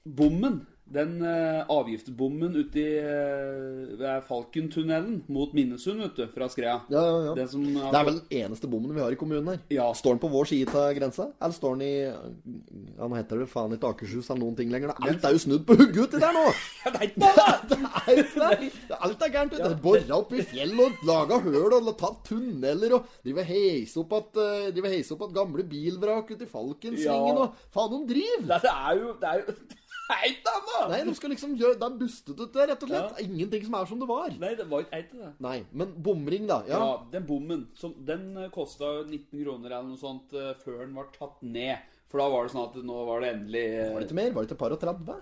A: bommen Den eh, avgiftsbommen ute i eh, ved Falkentunnelen mot Minnesund, vet du, fra Skrea.
B: Ja, ja, ja.
A: Den som har-
B: Det er vel den eneste bommen vi har i kommunen her.
A: Ja.
B: Står den på vår side av grensa? Eller står den i Ja, nå heter det vel faen ikke Akershus eller noen ting lenger. Det- Alt er jo snudd på hugget uti der nå!
A: [laughs] Det er ikke
B: Det
A: noe, da!
B: er- det er jo ikke det. Det er- Alt er gærent. vet du. Det er Borra opp i fjell og laga høl og tatt tunneler og driver heise opp at, eh, driver heise opp at gamle bilvrak uti Falkensvingen
A: Ja.
B: og Faen, de driver!
A: Det er jo Det er jo [laughs] Det er ikke annet!
B: Nei, de skal liksom gjøre Det er bustet ut der, rett og slett. Ingenting som er som det var.
A: Nei, det var ikke eit, det.
B: Nei, men bomring, da.
A: Ja,
B: Ja.
A: den bommen, som, den eh, kosta 19 kroner eller noe sånt eh, før den var tatt ned. For da var det sånn at nå var det endelig eh,
B: Var det ikke mer? Var det ikke par og 30?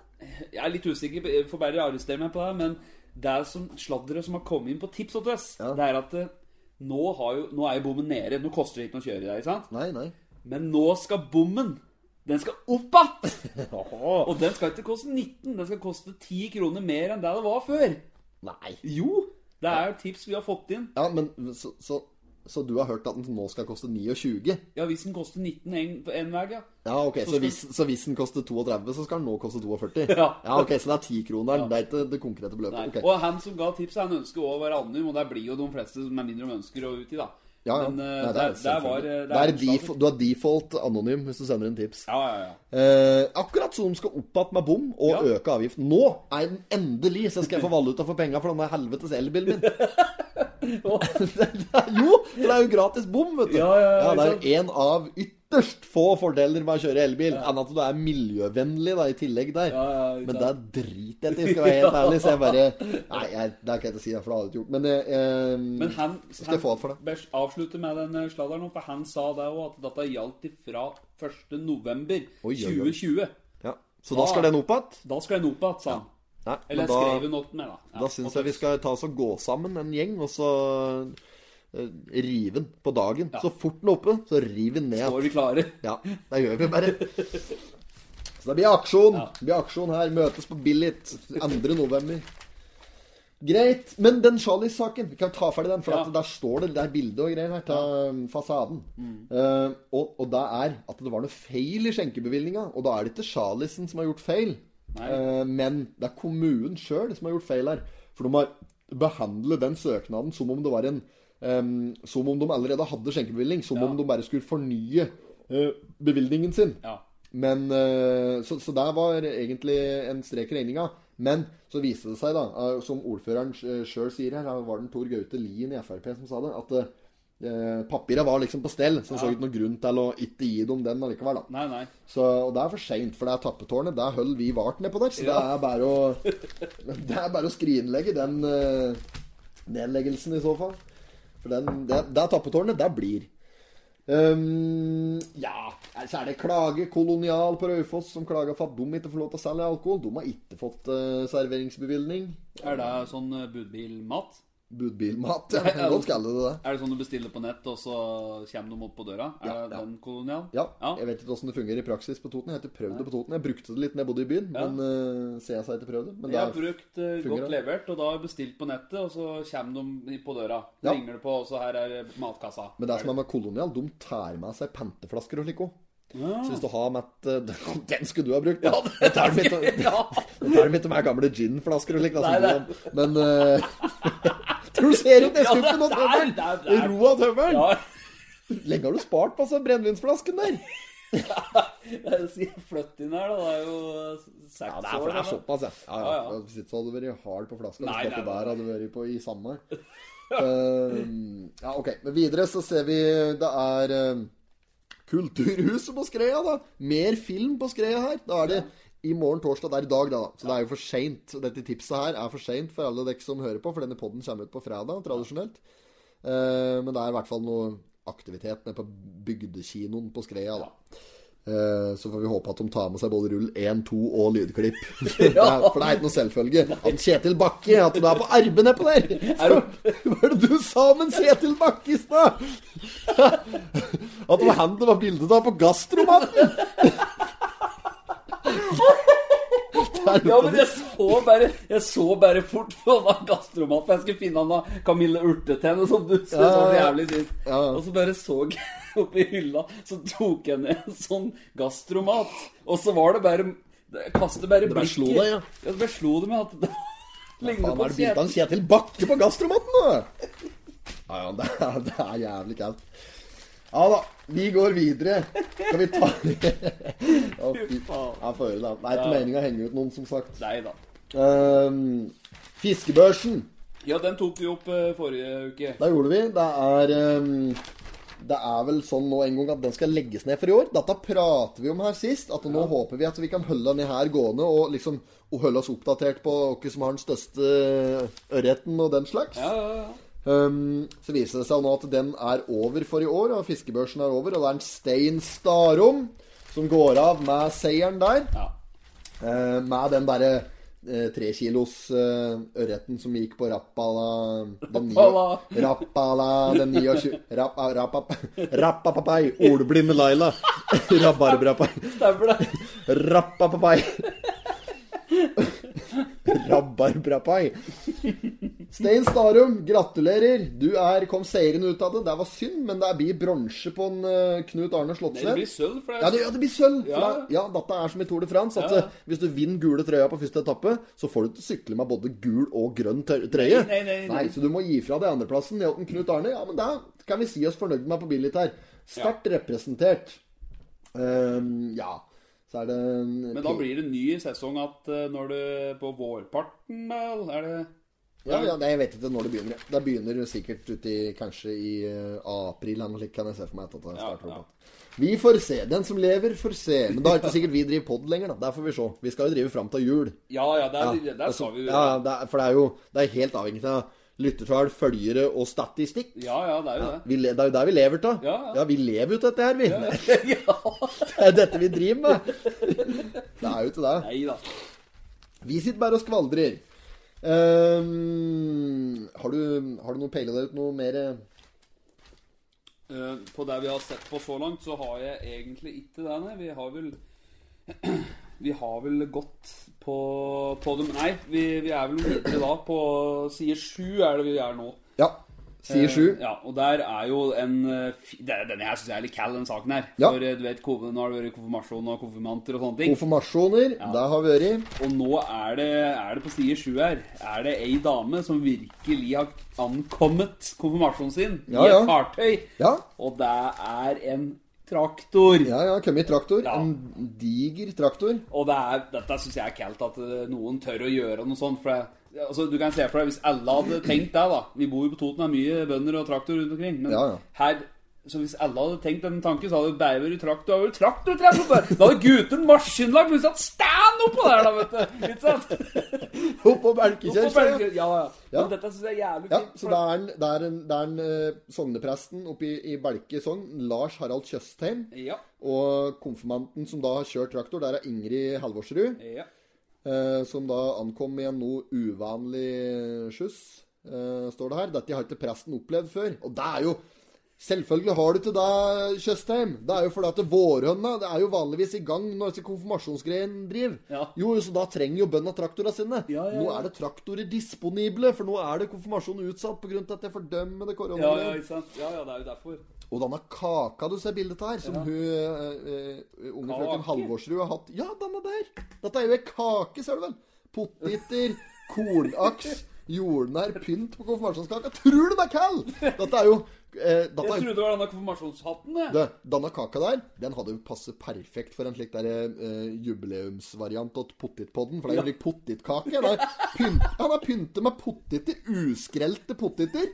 A: Jeg er litt usikker, jeg får bare arrestere meg på det, men det er som sladderet som har kommet inn på tips hos oss,
B: Ja.
A: det er at eh, nå, har jo, nå er jo bommen nede. Nå koster det ikke noe å kjøre i det, ikke sant?
B: Nei, nei.
A: Men nå skal bommen Den skal opp
B: [laughs]
A: igjen! Og den skal ikke koste 19, den skal koste 10 kroner mer enn det det var før.
B: Nei.
A: Jo! Det er jo tips vi har fått inn.
B: Ja, men så, så, så du har hørt at den nå skal koste 29?
A: Ja, hvis den koster 19 en, på en vei, ja.
B: Ja, ok, så,
A: skal-
B: hvis, så hvis den koster 32, så skal den nå koste
A: [laughs]
B: 42?
A: Ja.
B: ok, Så det er 10-kroneren. Det er ikke det
A: Nei.
B: konkrete beløpet. ok.
A: Og han som ga tipset, han ønsker å være anonym, og det blir jo de fleste med mindre de ønsker å ut i, da.
B: Ja, ja.
A: Men eh, der,
B: Nei,
A: der
B: selvfølgelig.
A: var eh,
B: Det er
A: en
B: def-
A: slags-
B: Du har default anonym hvis du sender inn tips.
A: Ja, ja, ja.
B: Eh, akkurat som de skal opp igjen med bom og
A: Ja.
B: øke avgiften. Nå er den endelig, så skal jeg få valuta for penga for denne helvetes elbilen min. [laughs] jo, for det er jo gratis bom, vet du.
A: Ja, ja, ja,
B: det
A: ikke
B: er jo en av ytterst få fordeler med å kjøre elbil. Enn at du er miljøvennlig da, i tillegg der.
A: ja, ikke
B: Men det driter jeg til, skal
A: [laughs]
B: jeg være helt ærlig. Så jeg bare Nei, jeg, det kan jeg ikke si, for det hadde jeg ikke gjort. Men, eh, eh,
A: Men han,
B: skal jeg få alt for det.
A: Bers avslutter med den eh, sladderen, nå, for han sa det òg, at dette gjaldt fra 1. november
B: Oi, oi, oi.
A: 2020.
B: ja. Så da skal den opp igjen?
A: Da skal den opp igjen, sa han.
B: Nei, men
A: Eller jeg
B: da-
A: skrev hun noe med, da. Ja,
B: Da syns
A: og-
B: jeg vi skal ta oss og gå sammen en gjeng, og så eh, rive den på dagen. Så fort den er oppe, så river den
A: Nå
B: ned.
A: er vi klare.
B: Ja, det gjør vi bare. Så det blir aksjon. Det blir aksjon her. Møtes på Billit 2. november. Greit. Men den Charlies-saken, vi kan ta ferdig den. For
A: Ja.
B: at der står det det er bilde og greier her av fasaden.
A: Mm.
B: Eh, og, og det er at det var noe feil i skjenkebevilgninga. Og da er det ikke Charliesen som har gjort feil,
A: Nei.
B: Eh, men det er kommunen sjøl som har gjort feil her. For de har behandlet den søknaden som om det var en eh, Som om de allerede hadde skjenkebevilgning. Som om de bare skulle fornye eh, bevilgningen sin.
A: Ja.
B: Men, eh, så, så der var egentlig en strek i regninga. Men så viste det seg, da, eh, som ordføreren sjøl sier her, her var den Tor Gaute Lien i Frp som sa det, at eh, papira var liksom på stell. Så han så ikke noen grunn til å ikke gi dem den allikevel, da.
A: Nei, nei.
B: Så, og det er for seint, for det er tappetårnet. Der holder vi vart nedpå der. Så det er bare å [laughs] Det er bare å skrinlegge den eh, nedleggelsen, i så fall. For den, det, det er tappetårnet. Der blir. Ehm, ja Så er det klage kolonial på Raufoss som klager for at de ikke får lov til å selge alkohol. De har ikke fått eh, serveringsbevilgning.
A: Er det sånn eh, budbilmat?
B: Budbilmat, ja. Kan godt kalle det det.
A: Er det sånn du bestiller på nett, og så kommer de opp på døra? Er
B: Ja,
A: det
B: ja.
A: den kolonialen?
B: Ja,
A: Ja.
B: Jeg vet ikke åssen det fungerer i praksis på Toten. Jeg har ikke prøvd det på Toten. Jeg brukte det litt når jeg bodde i byen,
A: Ja.
B: men eh, ser jeg seg ikke prøvd det. Men
A: Jeg har
B: det er-
A: brukt eh,
B: fungerer
A: godt
B: det.
A: levert, og da har jeg bestilt på nettet, og så kommer de i- på døra.
B: Ja.
A: Ringer det på, og så her er matkassa.
B: Men det som er med kolonial, de tær med seg penteflasker og slik òg. Så hvis du har med et eh, [laughs] Den skulle du ha brukt! Ja, det tar de ikke
A: [laughs]
B: [laughs] med, med gamle ginflasker og slik. Da,
A: Nei,
B: som du- men eh, [laughs] Tror du ser ut i skuffen nå,
A: Ja, der, der, der.
B: Petter? Ro av tømmeren!
A: Ja, [laughs]
B: Lenge har du spart på altså, brennevinsflasken der?
A: jeg sier flytt inn her, da. Det er jo eh, seks
B: Ja, det er, for det er
A: da.
B: såpass, ja. Ja, ja.
A: Ja, ja.
B: Hvis ikke så hadde du vært hard på flaska.
A: Nei,
B: Hvis
A: nei,
B: dette
A: nei.
B: der hadde du vært på i [laughs] samme. Eh, ja, OK. Men videre så ser vi Det er eh, Kulturhuset på Skreia, da. Mer film på Skreia her. Da er det i morgen torsdag. Det er i dag, da. da. Så det er jo for seint. Dette tipset her er for seint for alle dere som hører på, for denne podden kommer ut på fredag, tradisjonelt. Eh, men det er i hvert fall noe aktivitet nede på bygdekinoen på Skreia, da. Eh, Så får vi håpe at de tar med seg både rull 1, 2 og lydklipp. [laughs] Det er- For det er ikke noe selvfølge. At Kjetil Bakke At du er på arbeid nedpå der! [laughs] Hva er det du sa om en Kjetil Bakke i stad? [laughs] At det var han det var bildet av på [laughs] gasstromaten!
A: Ja, men jeg så bare, jeg så bare fort på den gastromat, for jeg skulle finne han da Camilla Urtetenne, som du så så jævlig sist.
B: Ja, ja.
A: Og så bare så jeg oppi hylla, så tok jeg ned en sånn gastromat, og så var det bare Det kastet bare
B: Det
A: blikket
B: bare slo deg, ja.
A: ja. Det bare slo det med at det lignet
B: Faen,
A: på
B: er det
A: et
B: bildet av
A: kjede.
B: en Kjetil Bakke på gasstromaten, da? Ja, ja, det er, det er jævlig kaldt. Ja da, vi går videre. Skal vi ta Å, fy faen. Jeg får høre det. Det er ikke meninga å henge ut noen, som sagt.
A: Nei da.
B: Ehm, fiskebørsen.
A: Ja, den tok vi opp eh, forrige uke.
B: Da gjorde vi. Det er ehm, Det er vel sånn nå en gang at den skal legges ned for i år. Dette prater vi om her sist. At nå håper vi at vi kan holde denne her gående og liksom og holde oss oppdatert på hvem som har den største ørreten og den slags.
A: Ja, ja, ja.
B: Ehm, så viser det seg nå at den er over for i år, og fiskebørsen er over. Og det er en Stein Starom som går av med seieren der.
A: ja.
B: eh, med den derre eh, tre kilos eh, ørreten som gikk på Rappala den ni-
A: Rappala.
B: Rappala den 29 rapp, rappap, Rappapapai. Ordblinde Laila. [laughs] Rabarbrapai.
A: Stemmer
B: [laughs]
A: det.
B: Rappapapai. Rabarbrapai. Stein Starum, gratulerer. Du er, kom seirende ut av det. Det var synd, men det blir bronse på en eh, Knut Arne
A: Nei, det blir
B: Slottsveen.
A: sølv, for
B: Ja, det,
A: det
B: ja, det blir sølv. for
A: Ja.
B: det- Ja, dette er som i Tour de France. At
A: Ja.
B: eh, Hvis du vinner gule trøya på første etappe, så får du ikke sykle med både gul og grønn tør- trøye.
A: Nei, nei, nei, nei.
B: Så du må gi fra deg andreplassen. Hjelten Knut Arne. Ja, men det kan vi si oss fornøyd med på Billit her. Sterkt representert. Ehm, ja. Så er det
A: Men da blir det ny sesong at eh, når du På vårparten, vel? Er det
B: Ja, ja, nei, jeg vet ikke når det begynner. Det begynner sikkert uti kanskje i eh, april eller noe slikt, kan jeg se for meg. at det
A: Ja,
B: starter
A: ja.
B: opp. Vi får se. Den som lever, får se. Men da er det ikke sikkert vi driver pod lenger, da. Der får vi se. Vi skal jo drive fram til jul.
A: Ja, ja, der, der,
B: altså,
A: sa vi jo
B: ja, ja, det er, for det er jo det er helt avhengig av lyttertall, følgere og statistikk.
A: Ja, ja, det er jo det.
B: Vi, le- det er jo der vi lever av.
A: Ja, ja.
B: vi lever jo av dette her, vi.
A: Ja.
B: [laughs] Det er dette vi driver med. Det er jo ikke det.
A: Nei da.
B: Vi sitter bare og skvaldrer. Ehm, har, du, har du noe peila deg ut noe mer
A: Eh, På det vi har sett på så langt, så har jeg egentlig ikke det. Nei. Vi har vel [clears throat] Vi har vel gått på, på dem Nei, vi, vi er vel videre da. På side sju er det vi er nå.
B: Ja. Sier sju.
A: Eh, Ja, og der er jo en eh, fi- det er- Denne her syns jeg er litt kall, den saken her.
B: Ja.
A: For eh, du vet, ko- nå har det vært konfirmasjon og konfirmanter og sånne ting.
B: Konfirmasjoner. Det har vært.
A: Og nå er det, er det på side sju her Er det ei dame som virkelig har ankommet konfirmasjonen sin i
B: Ja,
A: et
B: ja.
A: fartøy.
B: Ja.
A: Og det er en traktor.
B: Ja, ja. Kommet i traktor.
A: Ja.
B: En diger traktor.
A: Og det er, dette syns jeg er kaldt, at eh, noen tør å gjøre noe sånt. For det, altså, du kan se for deg, hvis alle hadde tenkt det, da Vi bor jo på Toten, det er mye bønder og traktor rundt omkring. Men
B: Ja, ja.
A: her så hvis alle hadde tenkt den tanken, så hadde det bare vært traktor over traktortreff. og bare- Da hadde gutten maskinlag plutselig hatt stand oppå der, da, vet du. Ikke sant?
B: Opp på
A: Oppå
B: belkekjørselen.
A: belgen. Ja, ja.
B: Ja.
A: Men dette syns jeg er jævlig
B: Ja,
A: fint.
B: så
A: for-
B: det er en, det er en, det er en eh, sognepresten oppe i, i Belke sogn, Lars Harald Tjøstheim,
A: Ja.
B: og konfirmanten som da har kjørt traktor, der er Ingrid Halvorsrud.
A: ja.
B: Eh, som da ankom med en noe uvanlig skyss, eh, står det her. Dette har ikke presten opplevd før. Og det er jo Selvfølgelig har du ikke det, Tjøstheim. Det er jo fordi at vårhøna det er jo vanligvis i gang når disse konfirmasjonsgreiene driver.
A: Ja.
B: Jo, så da trenger jo bøndene traktorene sine.
A: Ja, ja, ja.
B: Nå er det traktorer disponible, for nå er det konfirmasjon utsatt pga. dette fordømmede
A: Ja,
B: koronagreiet.
A: ja, ikke sant? Ja, ja, det er jo derfor.
B: Og denne kaka du ser bildet av her, som hun eh, eh, unge
A: Kake?
B: frøken Halvorsrud har hatt Ja, denne der! Dette er jo ei kake, ser du vel? Poteter,
A: [laughs]
B: kornaks, jordnær pynt på konfirmasjonskaka. Tror du det er kall? Dette er jo eh, dette
A: Jeg
B: er,
A: trodde det var denne konfirmasjonshatten, jeg.
B: du, Denne kaka der, den hadde jo passet perfekt for en slik der eh, jubileumsvariant av potetpodden. For det er jo en slik potetkake. Det er pynt, ja, den er pyntet med poteter. Uskrelte poteter.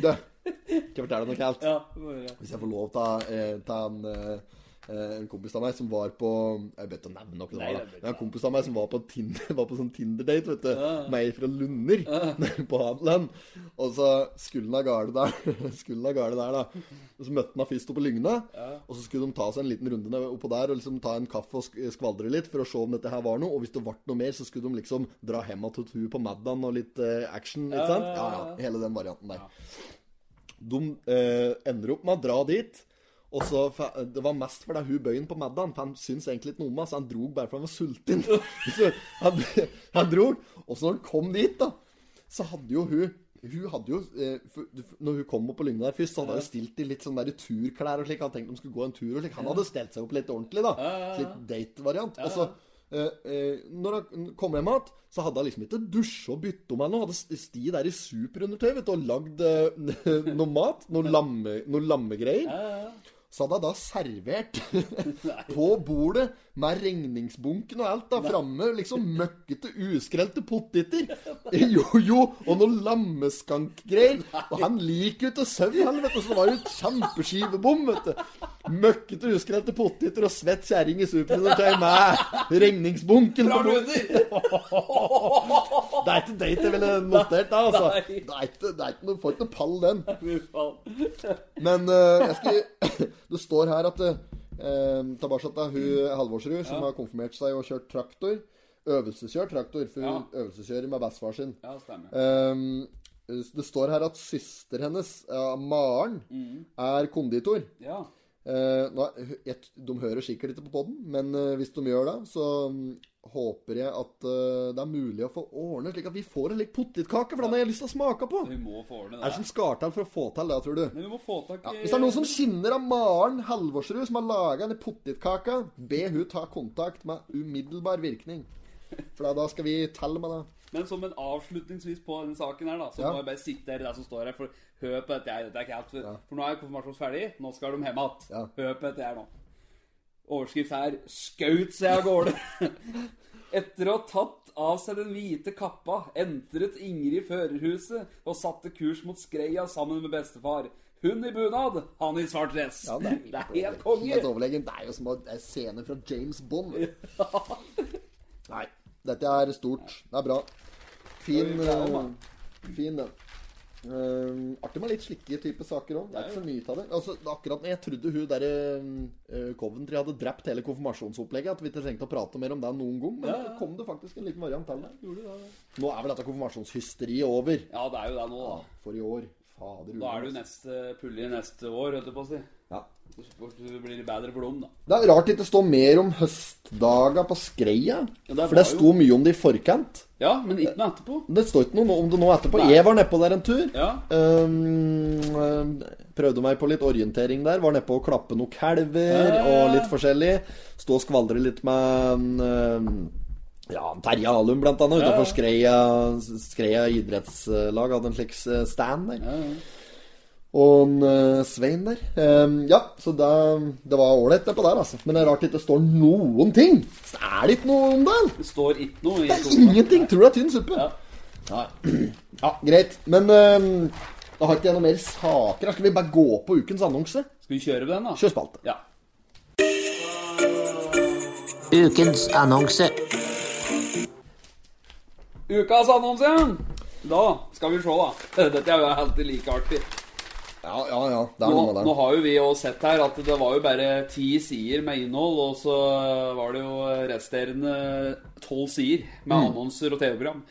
B: Du, skal jeg fortelle deg noe kaldt?
A: Ja, det var det.
B: Hvis jeg får lov til eh, til en, eh, eh, en kompis av meg som var på Jeg vet ikke å nevne noe. Det
A: Nei, det
B: var, da.
A: bør
B: Men en kompis av meg som var på, Tinder, [laughs] var på sånn Tinder-date, vet du. Meg fra Lunder [laughs] på Hadeland. Og så skulle han av gårde der. [laughs] skulle han av gårde der, da. Og så møtte han henne først oppe på Lygna. Og så skulle de ta seg en liten runde ned oppå der og liksom ta en kaffe og sk- skvaldre litt for å se om dette her var noe. Og hvis det ble noe mer, så skulle de liksom dra hjem igjen til hun på Maddan og litt eh, action, ikke sant? Ja, ja. Hele den varianten der. De eh, ender opp med å dra dit. Og så, fa- Det var mest fordi hun bøyen på Maddan, for han syntes egentlig ikke noe om henne, så han drog bare fordi han var sulten. Så han, han drog. Og så når han kom dit, da, så hadde jo hun hun hadde jo, eh, for- for- Når hun kom opp på Lygna der først, så hadde hun stilt i litt sånn der turklær og slik. Han tenkte de skulle gå en tur og slik. Han hadde stelt seg opp litt ordentlig, da. Slik date-variant. Og så eh, eh, Når han kom hjem igjen, så hadde han liksom ikke dusj og bytte om eller noe. Hadde sti der i superundertøy vet du, og lagd eh, [laughs] noe mat. Noe, lamme, noe lammegreier. Så hadde jeg da servert [laughs] på bordet med regningsbunken og alt da framme. Liksom møkkete, uskrelte poteter. Jojo og noe lammeskankgreier. Og han liker jo til søvn, han, vet du. Så det var jo et kjempeskivebom, vet du. Møkkete, uskrelte poteter og svett kjerring i superundertøy med regningsbunken på
A: Drar du
B: [laughs] bordet.
A: under?
B: Det er ikke date jeg ville notert, da, altså.
A: Nei.
B: Det er ikke, det er ikke noe, får ikke noe pall, den.
A: Fy faen.
B: Men eh, jeg skal, [coughs] det står her at uh, tilbake til hun Halvorsrud, som har konfirmert seg og kjørt traktor. Øvelseskjørt traktor, for hun øvelseskjører med bestefar sin.
A: Ja, stemmer.
B: Ehm, det står her at søster hennes, ja, Maren, er konditor.
A: Ja.
B: Eh, nå, jeg, de hører sikkert ikke på podden, men eh, hvis de gjør det, så mm, håper jeg at eh, det er mulig å få ordnet slik at vi får en lik potetkake, for den har jeg lyst til å smake på.
A: Vi må få ordne
B: Hva er det
A: det.
B: som skal til for å få til det, tror du?
A: Men vi må få tak
B: Ja,
A: i
B: hvis det er noen som skinner av Maren Halvorsrud, som har laga denne potetkaka, be hun ta kontakt med umiddelbar virkning. For da- da skal vi telle med det.
A: Men som en avslutningsvis på denne saken her, da, så
B: Ja.
A: må jeg bare sitte her i det som står her, for hør på dette her. Dette er ikke helt For nå er konfirmasjonen ferdig, nå skal de hjem igjen.
B: Ja.
A: Hør på dette her nå. Overskrift her 'Skaut seg av gårde'. [laughs] Etter å ha tatt av seg den hvite kappa, entret Ingrid førerhuset og satte kurs mot Skreia sammen med bestefar. Hun i bunad, han i svart dress.
B: Ja,
A: det, er helt konge!
B: Helt overlegen. Det er jo som å- det er scener fra James Bond. vet du. Nei. Dette er stort. Det er bra. Fin,
A: Det er jo bra,
B: eh, fin den. Eh, artig med litt slike type saker òg. Det er ikke så mye av det. Altså, akkurat når jeg trodde hun derre Coventry hadde drept hele konfirmasjonsopplegget, at vi ikke trengte å prate mer om det noen gang, men så kom det faktisk en liten variant til der. Nå er vel dette konfirmasjonshysteriet over
A: Ja, det er jo det nå, da.
B: for i år. Fader
A: Da er det jo neste pulje neste år, holdt jeg på å si.
B: Ja.
A: Så blir det bedre for dem, da.
B: Det er rart det ikke står mer om høstdaga på Skreia.
A: Ja, det
B: for det
A: var jo-
B: sto mye om det i forkant.
A: Ja, men ikke noe etterpå.
B: Det står ikke noe om det nå etterpå.
A: Nei.
B: Jeg var nedpå der en tur.
A: Ja.
B: Ehm, ehm, prøvde meg på litt orientering der. Var nedpå å klappe noen kalver og litt forskjellig. Stå og skvaldre litt med ehm, ja, Terje Alum, blant annet. Utenfor Skreia, Skreia idrettslag hadde en slik eh, stand der. Og en, eh, Svein der. Ehm, ja, så det, det var ålreit nedpå der, altså. Men det er rart det ikke står noen ting. Så er det ikke noe om det?
A: Det står ikke noe i
B: Ingenting! Tror du det er tynn suppe?
A: Ja.
B: Nei. ja, greit. Men øhm, da har ikke jeg noe mer saker. her. Skal vi bare gå på ukens annonse?
A: Skal vi kjøre på den, da?
B: Kjør spalte.
A: Ja.
G: Ukens annonse.
A: Ukas annonse! igjen. Da skal vi se, da. [laughs] Dette er jo alltid like artig.
B: Ja, ja, ja. Det er
A: Nå,
B: noe med
A: nå
B: det.
A: har jo vi også sett her at det var jo bare ti sider med innhold, og så var det jo resterende tolv sider med
B: Mm.
A: annonser og
B: [laughs]
A: TV-program.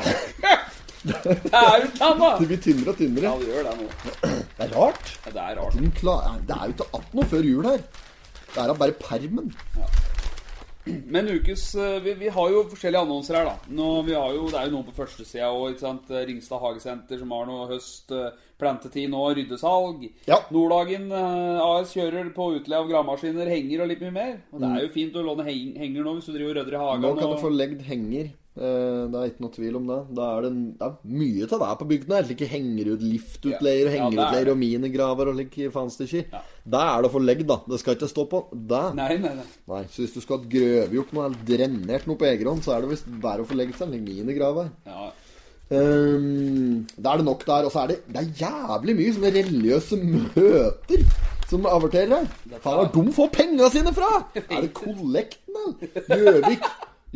A: [laughs] det er jo tann, da!
B: Det blir tynnere og tynnere.
A: Ja, det gjør det nå.
B: Det er rart.
A: Det er rart.
B: Den klar... Det er jo ikke att noe før jul her. Det er da bare permen.
A: Men ukes eh, vi, vi har jo forskjellige annonser her, da. Nå, vi har jo, det er jo noen på førstesida òg. Eh, Ringstad Hagesenter som har noe høst. eh, Plantetid nå, ryddesalg.
B: Ja.
A: Nordhagen eh, AS kjører på utleie av gravemaskiner, henger og litt mye mer. Og Det er jo fint å låne heng, henger nå hvis du driver og rydder i hagen.
B: Mm. Nå kan
A: og-
B: du få legd henger. Eh, Det er ikke noe tvil om det. Da er det, det er mye av det her på bygden. her Slike hengerud, liftutleier,
A: Ja, det er
B: hengerutleier
A: det.
B: og minigraver og like faenstykker. Det er det å få legg, da. Det skal ikke stå på. Det
A: Nei, nei, nei.
B: Nei, så hvis du skal grøve opp noe eller drenert noe på egen hånd, så er det visst bare å få legge seg en mine grav her.
A: Ja.
B: Ehm, da er det nok der, og så er det, det er jævlig mye sånne religiøse møter som averterer her. Faen, hvor de får penga sine fra?! Er det kollekten, eller? Gjøvik,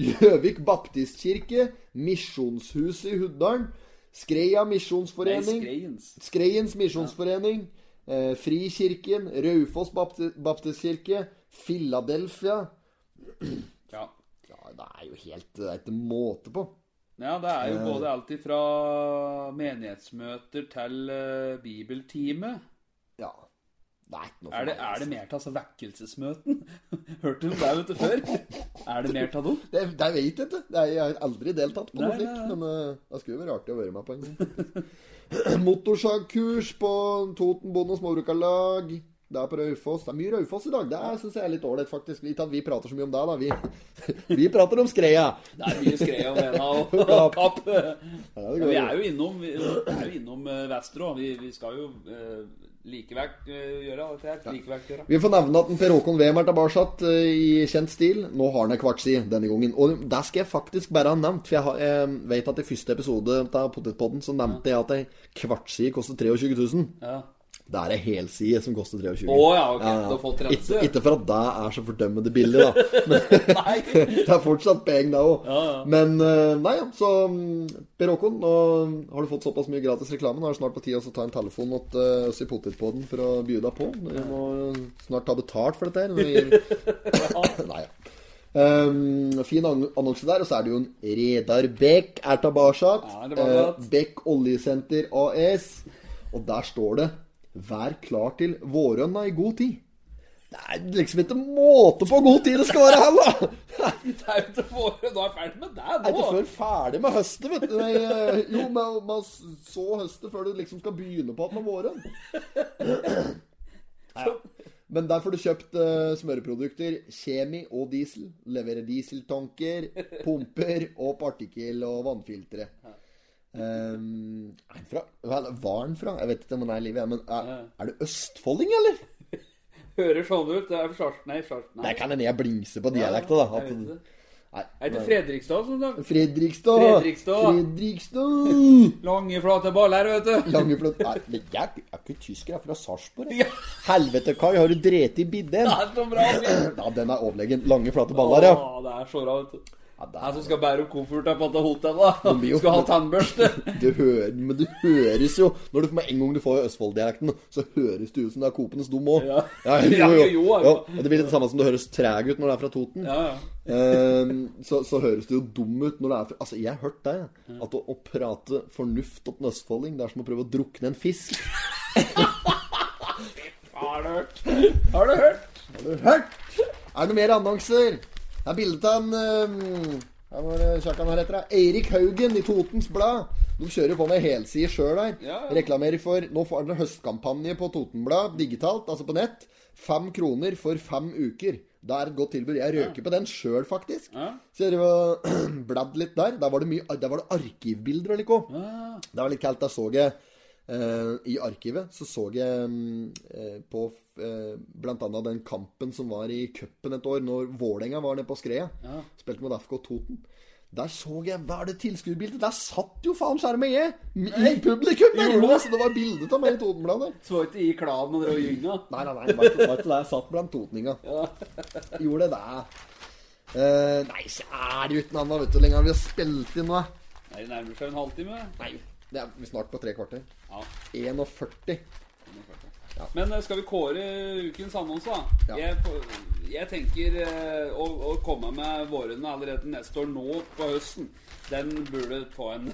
B: Gjøvik baptistkirke, Misjonshuset i Huddalen, Skreia
A: Nei,
B: misjonsforening
A: skreins.
B: Skreiens misjonsforening, eh, Frikirken, Raufoss bapti- baptistkirke, Philadelphia
A: Ja.
B: ja, Det er jo helt Det er ikke måte på.
A: ja, det er jo
B: Eh.
A: både alt ifra menighetsmøter til eh, bibeltime.
B: Ja. Det er ikke noe for
A: Er det,
B: meg,
A: er det mer til altså vekkelsesmøten? [laughs] Hørte du om det vet du, før? Er det mer til dem?
B: Det, det vet jeg ikke. Det er, jeg har aldri deltatt på noe
A: Nei, nei,
B: slikt. Men eh, det skulle jo være artig å være med på [laughs] en gang. Motorsagkurs på Toten bonde- og småbrukarlag. Det er på Raufoss. Det er mye Raufoss i dag. Det syns jeg er litt ålreit, faktisk. Ikke at vi prater så mye om deg, da. Vi, [laughs] vi prater om skreia.
A: Det er mye skred om henda
B: [laughs]
A: og kapp.
B: Ja,
A: Ja,
B: det går
A: vi
B: jo.
A: er jo innom, vi er jo innom eh, Vesterås. Vi, vi skal jo eh, likevekt eh, gjøre dette her. Likevekt gjøre.
B: Vi får nevne at en Per Håkon Wehm er tilbake eh, i kjent stil. Nå har han ei kvartsi denne gangen. Og det skal jeg faktisk bare ha nevnt, for jeg, har, jeg vet at i første episode av Potetpodden så nevnte jeg at ei kvartsi koster 23 000.
A: Ja.
B: Det er ei helside som koster 23 000.
A: Å ja, ok. Du har fått
B: Ikke,
A: rense.
B: ikke for at det er så fordømmende billig,
A: [laughs]
B: da. Men
A: [laughs] Nei.
B: [laughs] det er fortsatt penger, det òg. Men eh, nei, ja. Så mm, Per Håkon, nå har du fått såpass mye gratis reklame. Nå er det snart på tide å ta en telefon til eh, oss i Potetpodden for å by deg på. Du må snart ta betalt for dette her. Når
A: [laughs]
B: vi gir- nei, ja. Um, fin ann- annonse der. Og så er det jo en Redar Bech er tilbake. Eh,
A: Ja, det var godt.
B: Bech Oljesenter AS. Og der står det 'Vær klar til våronna i god tid'. Det er liksom ikke måte på god tid det skal være her, da!
A: Det er jo ikke våre. Nå er jeg ferdig med
B: Jeg er
A: deg
B: ikke
A: nå.
B: før ferdig med høstet, vet du. Nei, eh, jo, men man så høstet før du liksom skal begynne på at med våren. Ja. Men der får du kjøpt eh, smøreprodukter, kjemi og diesel. Leverer dieseltanker, pumper og partikkel og vannfiltre. Um, er han fra Hva er det- Var han fra? Jeg vet ikke om han er i live, jeg, men er, er du østfolding, eller?
A: Hører sånn ut. Det er for Sars- Nei, Sars- nei.
B: Der kan hende jeg blingser på dialekta, da.
A: Jeg vet
B: At,
A: det.
B: nei,
A: Er det Fredrikstad som snakker?
B: Fredrikstad!
A: Fredrikstad.
B: Fredrikstad.
A: Lange, flate baller, vet du.
B: Langeflot Nei, men jeg er ikke- jeg er ikke tysker, jeg er fra Sarpsborg. jeg.
A: Ja.
B: Helvete, Kai, har du drept i
A: [laughs]
B: bidden?
A: Det er så bra. vi.
B: Ja, den er overlegen. Lange, flate baller, ja.
A: Å, det er så bra, vet du.
B: ja det
A: Det er
B: er,
A: som skal bære opp kofferten på dette hotellet.
B: blir jo-
A: Skal ha
B: [laughs]
A: tannbørste.
B: du hører, men du høres jo Når du med en gang du får Østfold-dialekten, så høres du ut som det er Kopenes dum òg.
A: Ja. [laughs]
B: jo,
A: Ja,
B: jo.
A: jo, jo.
B: Jo, og det blir det samme som du høres treg ut når du er fra Toten.
A: Ja, ja.
B: Ehm, så, så høres du jo dum ut når du er fra Altså, jeg har hørt deg. jeg. At å, å prate fornuft opp en østfolding, det er som å prøve å drukne en fisk.
A: Har du hørt? Har du hørt?
B: Hørt! Er det noe mer annonser? Det er bildet av en um, her var det Kjakan her etter. Eirik Haugen i Totens Blad. De kjører på med helside sjøl der.
A: Ja, ja.
B: Reklamerer for Nå får dere høstkampanje på Totenblad digitalt, altså på nett. Fem kroner for fem uker. Det er et godt tilbud. Jeg røker på den sjøl, faktisk.
A: Ja.
B: Så jeg drev og [clears throat] bladd litt der. Der var det, mye, der var det arkivbilder og like òg. Det var litt kaldt. Da så jeg eh, I arkivet så så jeg eh, på eh, blant annet den kampen som var i cupen et år, når Vålerenga var nede på skredet. Spilte mot FK Toten. Der så jeg Hva er det tilskuerbildet? Der satt jo faen skjermen jeg! I publikum! Der,
A: Gjorde det?
B: så det var bilde av meg i Totenbladet.
A: Så var ikke i klanen og drev og gynga.
B: Nei, nei, nei. Det var ikke- det var ikke det. Jeg satt blant totninga.
A: [laughs]
B: Gjorde det. Eh, nei, så er det jo ikke noe annet, vet du, hvor lenge har vi har spilt inn nå?
A: Nei, det nærmer seg en halvtime.
B: Nei, det er vi er snart på tre kvarter.
A: Ja.
B: 41.
A: Men eh, skal vi kåre ukens annonse, da?
B: Ja.
A: Jeg, får- jeg tenker eh, å, å komme med vårene allerede neste år, nå på høsten. Den burde få en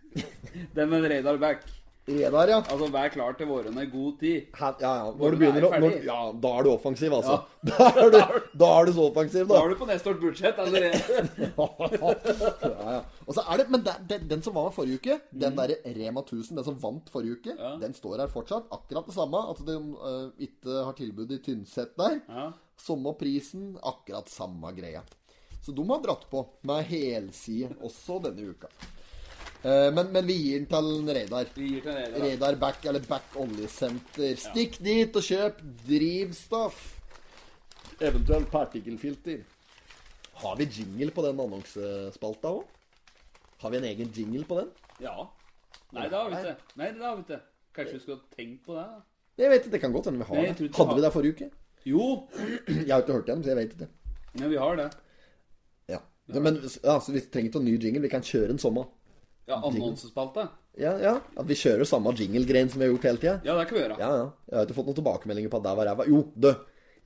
A: [laughs] Den med en radar back.
B: Redar, ja.
A: Altså, vær klar til vårene i god tid.
B: Her, ja, ja. Når du
A: Våren
B: begynner
A: er
B: å når,
A: ferdig.
B: Ja, da er du offensiv, altså. [laughs] Da, er du, da er du så offensiv,
A: Da
B: da.
A: har du på neste års budsjett allerede.
B: Ja, ja. Og så er det, Men det- det- den som var med forrige uke, den
A: Mhm.
B: derre Rema 1000, den som vant forrige uke, den står her fortsatt. Akkurat det samme. At de eh, ikke har tilbud i Tynset der.
A: Ja.
B: Samme prisen, akkurat samme greia. Så de har dratt på med helside også denne uka. Eh, Men, men vi gir den til Reidar.
A: Vi gir til en radar.
B: Reidar Back eller Back Oljesenter. Stikk dit og kjøp drivstoff. Eventuelt partikkelfilter. Har vi jingle på den annonsespalta òg? Har vi en egen jingle på den?
A: Ja. Nei, det har vi ikke. Nei, det har vi ikke. Kanskje vi skulle tenkt på det? da?
B: Jeg vet ikke, Det kan godt hende vi har
A: Nei, jeg tror
B: det.
A: ikke vi
B: Hadde vi
A: har-
B: det forrige uke? [clears throat]
A: Jo,
B: Jeg har ikke hørt igjen, så jeg vet ikke.
A: men vi har det.
B: Ja. Men ja, så vi trenger ikke noen ny jingle. Vi kan kjøre en sommer.
A: Ja, annonsespalte.
B: Ja, ja. At vi kjører samme jingle-greien som vi har gjort hele tida.
A: Ja, det kan vi gjøre.
B: Ja, ja. Jeg har ikke fått noen tilbakemeldinger på at der var ræva. Jo, du!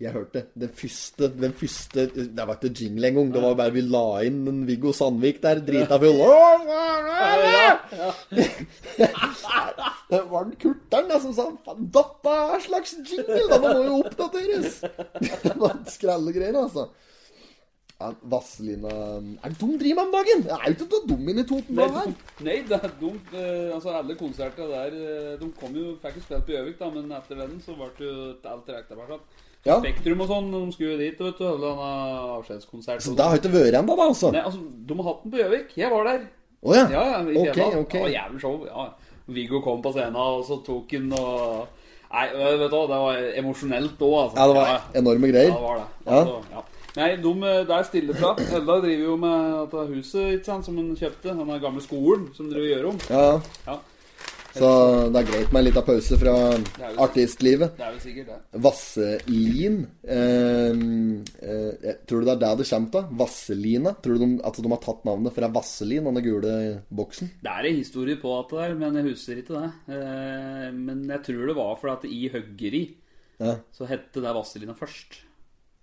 B: Jeg hørte den første, den første Det var ikke jingle engang. Det var bare vi la inn en Viggo Sandvik der, drita full. Åh, hva er det? [laughs] Det var den kurteren da, som sa "Faen, Dette er en [laughs] slags jingle! da, Den må jo oppdateres! Det var Skrelle greier, altså. Ja, Vazelina Er det dum driver med om dagen? Jeg er jo ikke så dum inn i Toten
A: Nei,
B: da her.
A: nei, det er dumt. Eh, Altså, alle konserter der eh, De kom jo, fikk jo spilt på Gjøvik, da, men etter den så ble det jo alt trukket tilbake.
B: Ja.
A: Spektrum og sånn, de skulle jo dit vet du, og holde denne avskjedskonsert.
B: Så
A: og
B: det har ikke vært ennå, da, altså?
A: Nei, altså, de har hatt den på Gjøvik. Jeg var der.
B: Å ja.
A: Ja, ja, i
B: Ok,
A: Fjella.
B: ok.
A: Det var jævlig show. Ja. Viggo kom på scenen, og så tok han og Nei, vet du hva, det var emosjonelt òg, altså.
B: Ja, det var enorme
A: Ja,
B: greier.
A: det var det.
B: Ja.
A: Altså, ja. Nei, de eh, der stiller fra. Hedda driver jo med dette huset ikke sant, som hun kjøpte. Den der gamle skolen som driver og gjør om.
B: Ja, ja.
A: Ja,
B: Så det er greit med en liten pause fra
A: vel-
B: artistlivet.
A: det er vel sikkert det.
B: Vasselin eh, eh, jeg- Tror du det er der det kommer til? Vasselina? Tror du de, at de har tatt navnet fra Vasselin, denne gule boksen?
A: Det er en historie på at det er, men jeg husker ikke det. Eh, Men jeg tror det var fordi at i høggeri
B: Ja.
A: så hette det Vazelina først.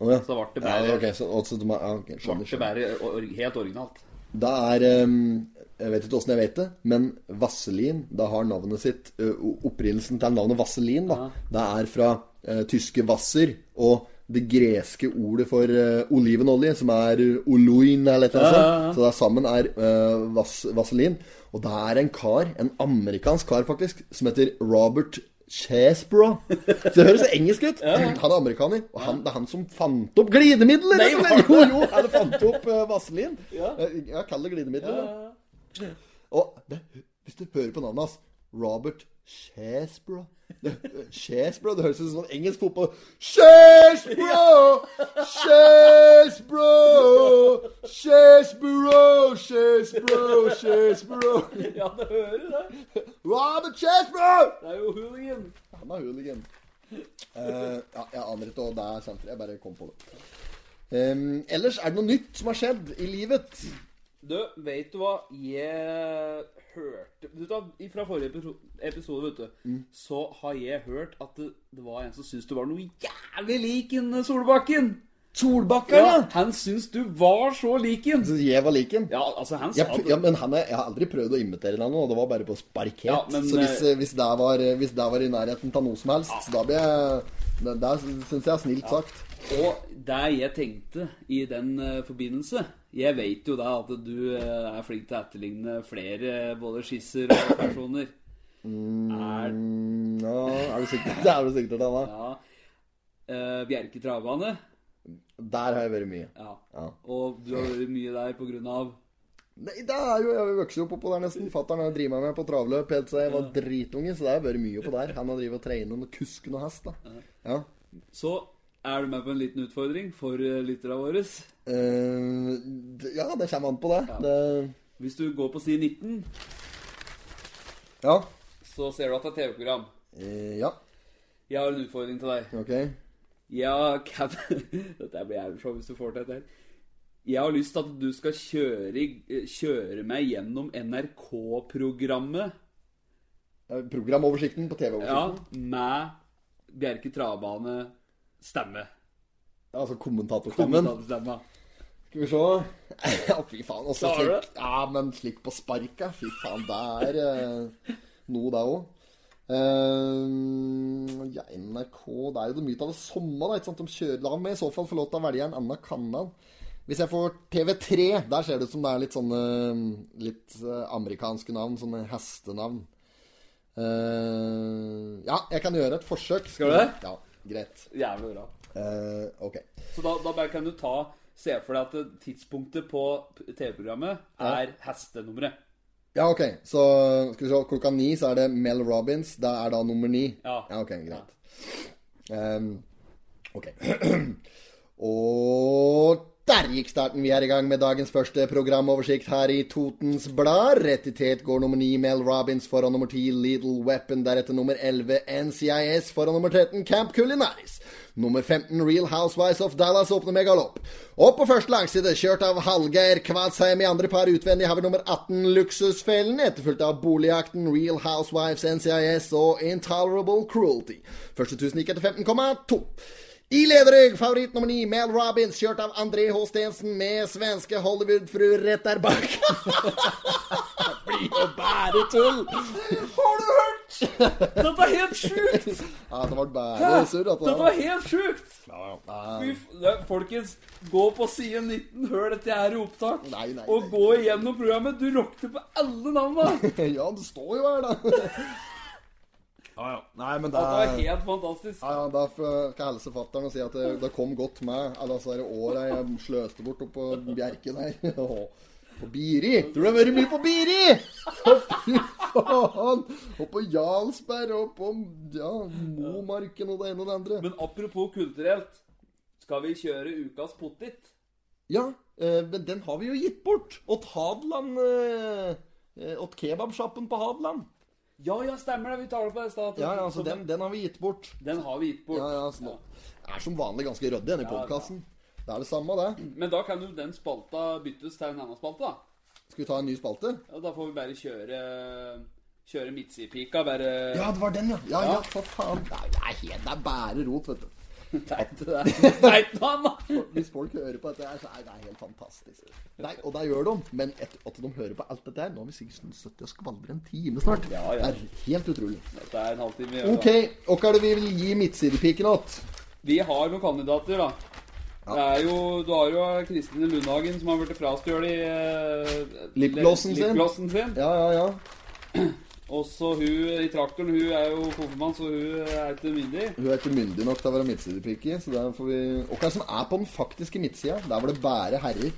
B: Å ja.
A: Så ble det
B: ja
A: bare,
B: ok, så, og så de har, ja, ok, skjønner,
A: ble det
B: skjønner.
A: bare or- helt originalt.
B: Det er ehm, Jeg vet ikke åssen jeg vet det, men Vaselin da har navnet sitt ø, Opprinnelsen til navnet Vaselin da, det er fra eh, tyske Wasser og det greske ordet for eh, olivenolje, som er oloin eller et eller annet sånt. Så det er sammen er eh, vas Vaselin. Og det er en kar, en amerikansk kar faktisk, som heter Robert Chesbrough. Så det høres så engelsk ut. Han er amerikaner, og han, det er han som fant opp glidemidler! rett og slett. jo, jo, han fant opp uh, Vaselin. Ja, ja kall det glidemidler. da. Og det, hvis du hører på navnet hans Robert Shesbro Shesbro, det høres ut som en engelsk fotball Shesbro! Shesbro! Shesbro! Shesbro! Shesbro!
A: Ja, det hører du det.
B: Robert Shesbro!
A: Det er jo hooligan.
B: Han er hooligan. Eh, ja, jeg aner ikke hva det er sant. Jeg bare kom på det. Em, ellers, er det noe nytt som har skjedd i livet?
A: Du, vet du hva? Jeg hørte Vet du hva, Fra forrige episo- episode, vet du,
B: Mm.
A: så har jeg hørt at det, det var en som syntes du var noe jævlig lik en eh, Solbakken.
B: Solbakken,
A: Han syntes du var så lik en.
B: Jeg var lik en.
A: Ja, altså, han sa
B: Jeg,
A: at-
B: ja, men han er, jeg har aldri prøvd å imitere han, og det var bare på sparket.
A: Ja, men,
B: så hvis,
A: eh,
B: hvis, det var, hvis det var i nærheten av noe som helst, så da blir jeg Det, det syns jeg er snilt sagt.
A: Og det jeg tenkte i den eh, forbindelse Jeg vet jo da at du eh, er flink til å etterligne flere eh, både skisser og personer. Er
B: Mm, ja, er du sikker? [laughs] Det er du sikker til, Anna.
A: ja, eh, Bjerke travbane.
B: Der har jeg vært mye.
A: Ja.
B: Ja.
A: Og du har vært mye der på grunn av
B: Nei, det er jo, Jeg vokste jo opp oppå der nesten. Fattern driver meg med på travløp helt siden jeg var dritunge, så det har vært mye oppå der. Han har drevet og trena noen kusk og noe hest, da. Ja.
A: Så er du med på en liten utfordring for eh, lytterne våre.
B: Eh, d- ja, det kommer an på det. det
A: Hvis du går på side 19,
B: ja.
A: så ser du at det er TV-program.
B: Eh, ja.
A: Jeg har en utfordring til deg.
B: Ok.
A: Ja, kan... [laughs] Dette blir jævlig show hvis du får til dette. her. Jeg har lyst til at du skal kjøre, i- eh, kjøre meg gjennom NRK-programmet
B: Eh, Programoversikten på
A: ja,
B: TV-oversikten.
A: med Bjerke Travbane stemme.
B: Altså kommentatorstemmen.
A: Kommentarstemme.
B: Skal vi se. [laughs] Ja, fy faen. Også
A: Klarer du
B: slik, ja, men slik på sparket. Fy faen, det er eh, noe, det òg. ja, NRK Det er jo mye av det samme. Da, ikke sant? De kjører, da må jeg i så fall få lov til å velge en annen kanal. Hvis jeg får TV3 Der ser det ut som det er litt sånne eh, litt eh, amerikanske navn. Sånne hestenavn. Eh, ja, jeg kan gjøre et forsøk.
A: Skal du det?
B: Ja, greit.
A: Jævlig bra.
B: Eh, ok.
A: Så da, da bare kan du ta Se for deg at tidspunktet på TV-programmet er hestenummeret.
B: Ja, ok. Så skal vi se, klokka ni så er det Mel Robbins. Det er da nummer ni.
A: Ja.
B: ok, greit. Ehm, ok. [clears throat] Og der gikk starten. Vi er i gang med dagens første programoversikt her i Totens Blad. Rett i tet går nummer ni Mel Robbins foran nummer ti Little Weapon. Deretter nummer elleve NCIS foran nummer 13 Camp Culinaris. Nummer 15 Real Housewives of Dallas åpner med galopp. Opp på første langside, kjørt av Hallgeir Kvadsheim i andre par utvendig, har vi nummer 18 Luksusfellen, etterfulgt av Boligjakten, Real Housewives, NCIS og Intolerable Cruelty. Første tusen gikk etter 15,2. I lederøg, favoritt nummer ni, Mel Robbins, kjørt av André H. Stensen med svenske Hollywood-fru rett der [laughs] bak. Blir jo bare tull! Har du hørt?
A: Dette er helt sjukt!
B: Ja, [laughs] det ble
A: Hæ?
B: bare surr. at det
A: Dette
B: var-
A: er helt sjukt! Fy f- det- Folkens, gå på side 19, hør dette her i opptak,
B: Nei, nei,
A: og
B: nei.
A: gå igjennom programmet. Du rockte på alle navnene!
B: Ja, det står jo her, da. Ja, ja. Nei, men det
A: Dette
B: er
A: var helt fantastisk.
B: ja, ja, Da får- skal jeg helse fatter'n og si at det, det kom godt med alle disse her åra jeg sløste bort oppå Bjerke der. [laughs] Og På Biri! Tror du det har vært mye på Biri! Å, fy faen! Og på Jarlsberg og på ja, Momarken og det ene og det andre.
A: Men apropos kulturelt, skal vi kjøre ukas pottit?
B: Ja, eh, men den har vi jo gitt bort. Åt Hadeland eh, eh, Åt kebabsjappen på Hadeland.
A: Ja, ja, stemmer det. Vi tar det på det i stad. at-
B: Ja, ja, altså
A: så
B: den, den har vi gitt bort.
A: den har vi gitt bort.
B: Ja, ja, altså, nå- Er som vanlig ganske ryddig, denne podkasten. Det er det samme, det.
A: Men da kan jo den spalta byttes til en annen spalte, da.
B: Skal vi ta en ny spalte?
A: Ja, da får vi bare kjøre Kjøre midtsidepika, bare
B: Ja, det var den, ja. Ja, ja, for faen. Nei, det er helt- det er bare rot, vet du.
A: [laughs] Nei, det
B: [laughs]
A: er- Nei, mann, da!
B: Hvis folk hører på dette her, så er det helt fantastisk. Nei, og det gjør de. Men etter at de hører på alt dette her Nå har vi sikkert 70 og skvalrer en time snart.
A: Ja, ja.
B: Det er helt utrolig.
A: Dette er en halvtime. igjen, da.
B: OK, hva er det vi vil gi midtsidepiken åt?
A: Vi har noen kandidater, da. Det er jo, du har jo Kristine Lundhagen som har blitt frastjålet i eh,
B: Lipglossen sin.
A: lipglossen sin.
B: Ja, ja, ja.
A: Også hun i traktoren. Hun er jo konfirmant, så hun er ikke myndig. [laughs]
B: Hun er ikke myndig nok til å være midtsidepike, så der får vi Og hva som er på den faktiske midtsida? Der var det bare herrer.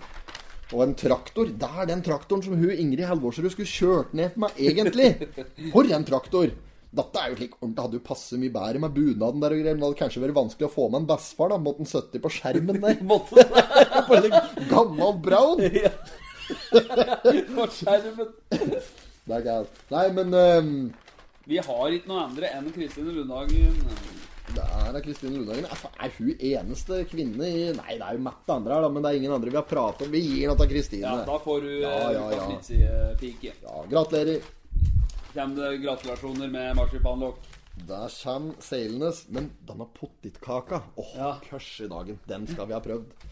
B: Og en traktor. Det er den traktoren som hun Ingrid Halvorsrud skulle kjørt ned med, egentlig! For en traktor! Dette er jo slik ordentlig, hadde jo passet mye bedre med bunaden der og greier, men det hadde kanskje vært vanskelig å få med en bestefar, da. Måtte en 70 på skjermen der. [laughs]
A: Måtte
B: På en gammel brown!
A: på skjermen.
B: Det er galt. Nei, men ehm,
A: Vi har ikke noe andre enn Kristine Lundhagen.
B: Det er da Kristin Lundhagen. Er, er hun eneste kvinne i Nei, det er jo Matt det andre her, da, men det er ingen andre vi har pratet om. Vi gir den til Kristine.
A: Ja, da får hun ja,
B: Ja, ja,
A: ukas
B: ja.
A: midtsidepike.
B: Ja, gratulerer.
A: Kommer det gratulasjoner med marsipanlokk?
B: Der kommer seilende. Men denne pottitkaka Åh,
A: Ja.
B: kørs i dagen. Den skal vi ha prøvd.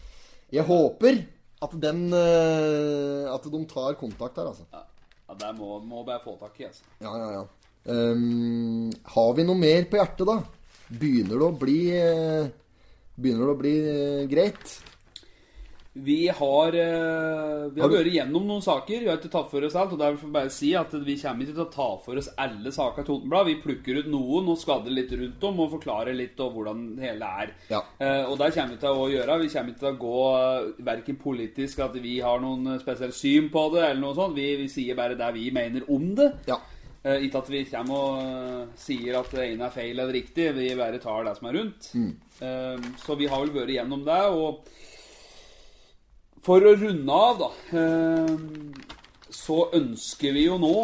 B: Jeg håper at den eh, At de tar kontakt her, altså.
A: Ja, ja det må, må bare få tak i, altså.
B: Ja, ja, ja. Ehm, har vi noe mer på hjertet, da? Begynner det å bli eh, Begynner det å bli eh, greit?
A: Vi har, eh, vi har
B: Har du-
A: vært gjennom noen saker. Vi har ikke tatt for oss alt. Og derfor får vi bare si at vi kommer ikke til å ta for oss alle saker i Totenblad. Vi plukker ut noen og skader litt rundt om og forklarer litt om hvordan det hele er.
B: Ja.
A: Eh, og der kommer vi til å gjøre. Vi kommer ikke til å gå eh, verken politisk at vi har noen eh, spesielt syn på det, eller noe sånt. Vi, vi sier bare det vi mener om det.
B: Ja.
A: Eh, ikke at vi kommer og eh, sier at det ene er feil eller riktig, vi bare tar det som er rundt.
B: Mm.
A: Eh, så vi har vel vært igjennom det, og for å runde av, da, eh, så ønsker vi jo nå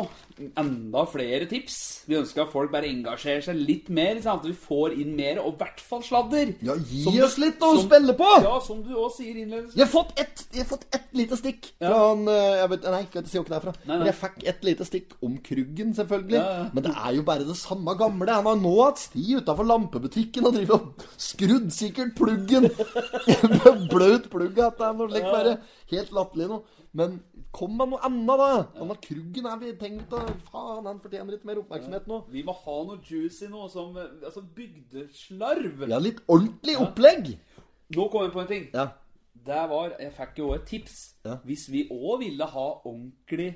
A: enda flere tips. Vi ønsker at folk bare engasjerer seg litt mer, sånn at vi får inn mer, og i hvert fall sladder.
B: Ja, gi
A: Som
B: oss
A: du-
B: litt å
A: som-
B: spille på!
A: Ja, som du òg sier innledningsvis.
B: Jeg har fått ett jeg har fått ett lite stikk fra han eh, jeg vet, Nei, jeg kan ikke si hvor det er fra.
A: Nei, nei.
B: Men jeg fikk ett lite stikk om Kruggen, selvfølgelig.
A: Ja, ja.
B: Men det er jo bare det samme gamle. Han har nå hatt sti utafor lampebutikken og driver og skrudd sikkert pluggen. [laughs] Blaut plugg at det er noe slikt. Bare helt latterlig noe. Men kom med noe annet, da! Han har Kruggen her, vi tenkt å Faen, han fortjener litt mer oppmerksomhet nå.
A: Vi må ha noe juicy nå, som eh, altså bygdeslarv.
B: Ja, litt ordentlig opplegg.
A: Nå kom jeg på en ting.
B: Ja.
A: Det var, Jeg fikk jo også et tips.
B: Ja.
A: Hvis vi òg ville ha ordentlig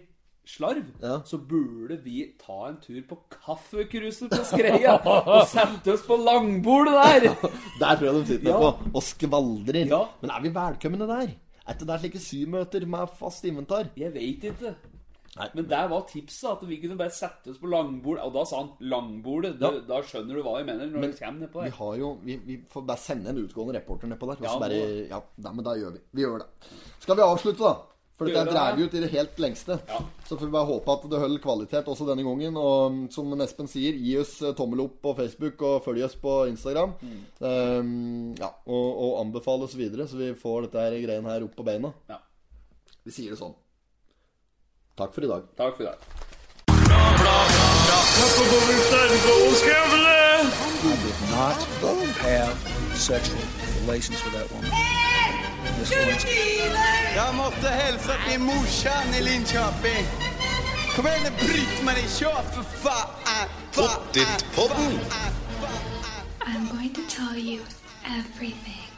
A: slarv,
B: Ja.
A: så burde vi ta en tur på kaffekruset på Skreia og
B: [laughs]
A: sette oss på langbordet der.
B: Der tror jeg de sitter
A: Ja.
B: på og skvaldrer.
A: Ja.
B: Men er vi velkomne der? Er ikke det slike symøter med fast inventar?
A: Jeg veit ikke.
B: Nei.
A: Men der var tipset at vi kunne bare sette oss på langbordet. Og da sa han 'langbordet'. Da,
B: Ja.
A: da skjønner du hva jeg mener når
B: Men
A: du kommer nedpå
B: Vi
A: der.
B: har jo Vi, vi får bare sende en utgående reporter nedpå der. og
A: Ja,
B: så bare,
A: må
B: ja, da, men da gjør vi Vi gjør det. Skal vi avslutte, da? For dette
A: Gjør det,
B: drar
A: ja.
B: vi ut i det helt lengste.
A: Ja.
B: Så får vi bare håpe at det holder kvalitet også denne gangen. Og mm, som Espen sier, gi oss eh, tommel opp på Facebook, og følg oss på Instagram.
A: Mm.
B: Um, ja, og, og anbefale oss videre, så vi får dette her greiene her opp på beina.
A: Ja.
B: Vi sier det sånn. Takk for i dag.
A: Takk for i dag.
C: Not have sexual relations with that woman. This woman's
D: Jag måste hälsa till morsan i Linköping. Kom igjen, bryt meg i kjør, for faen! Fa-
H: Pottit-podden.
E: I'm going to tell you everything.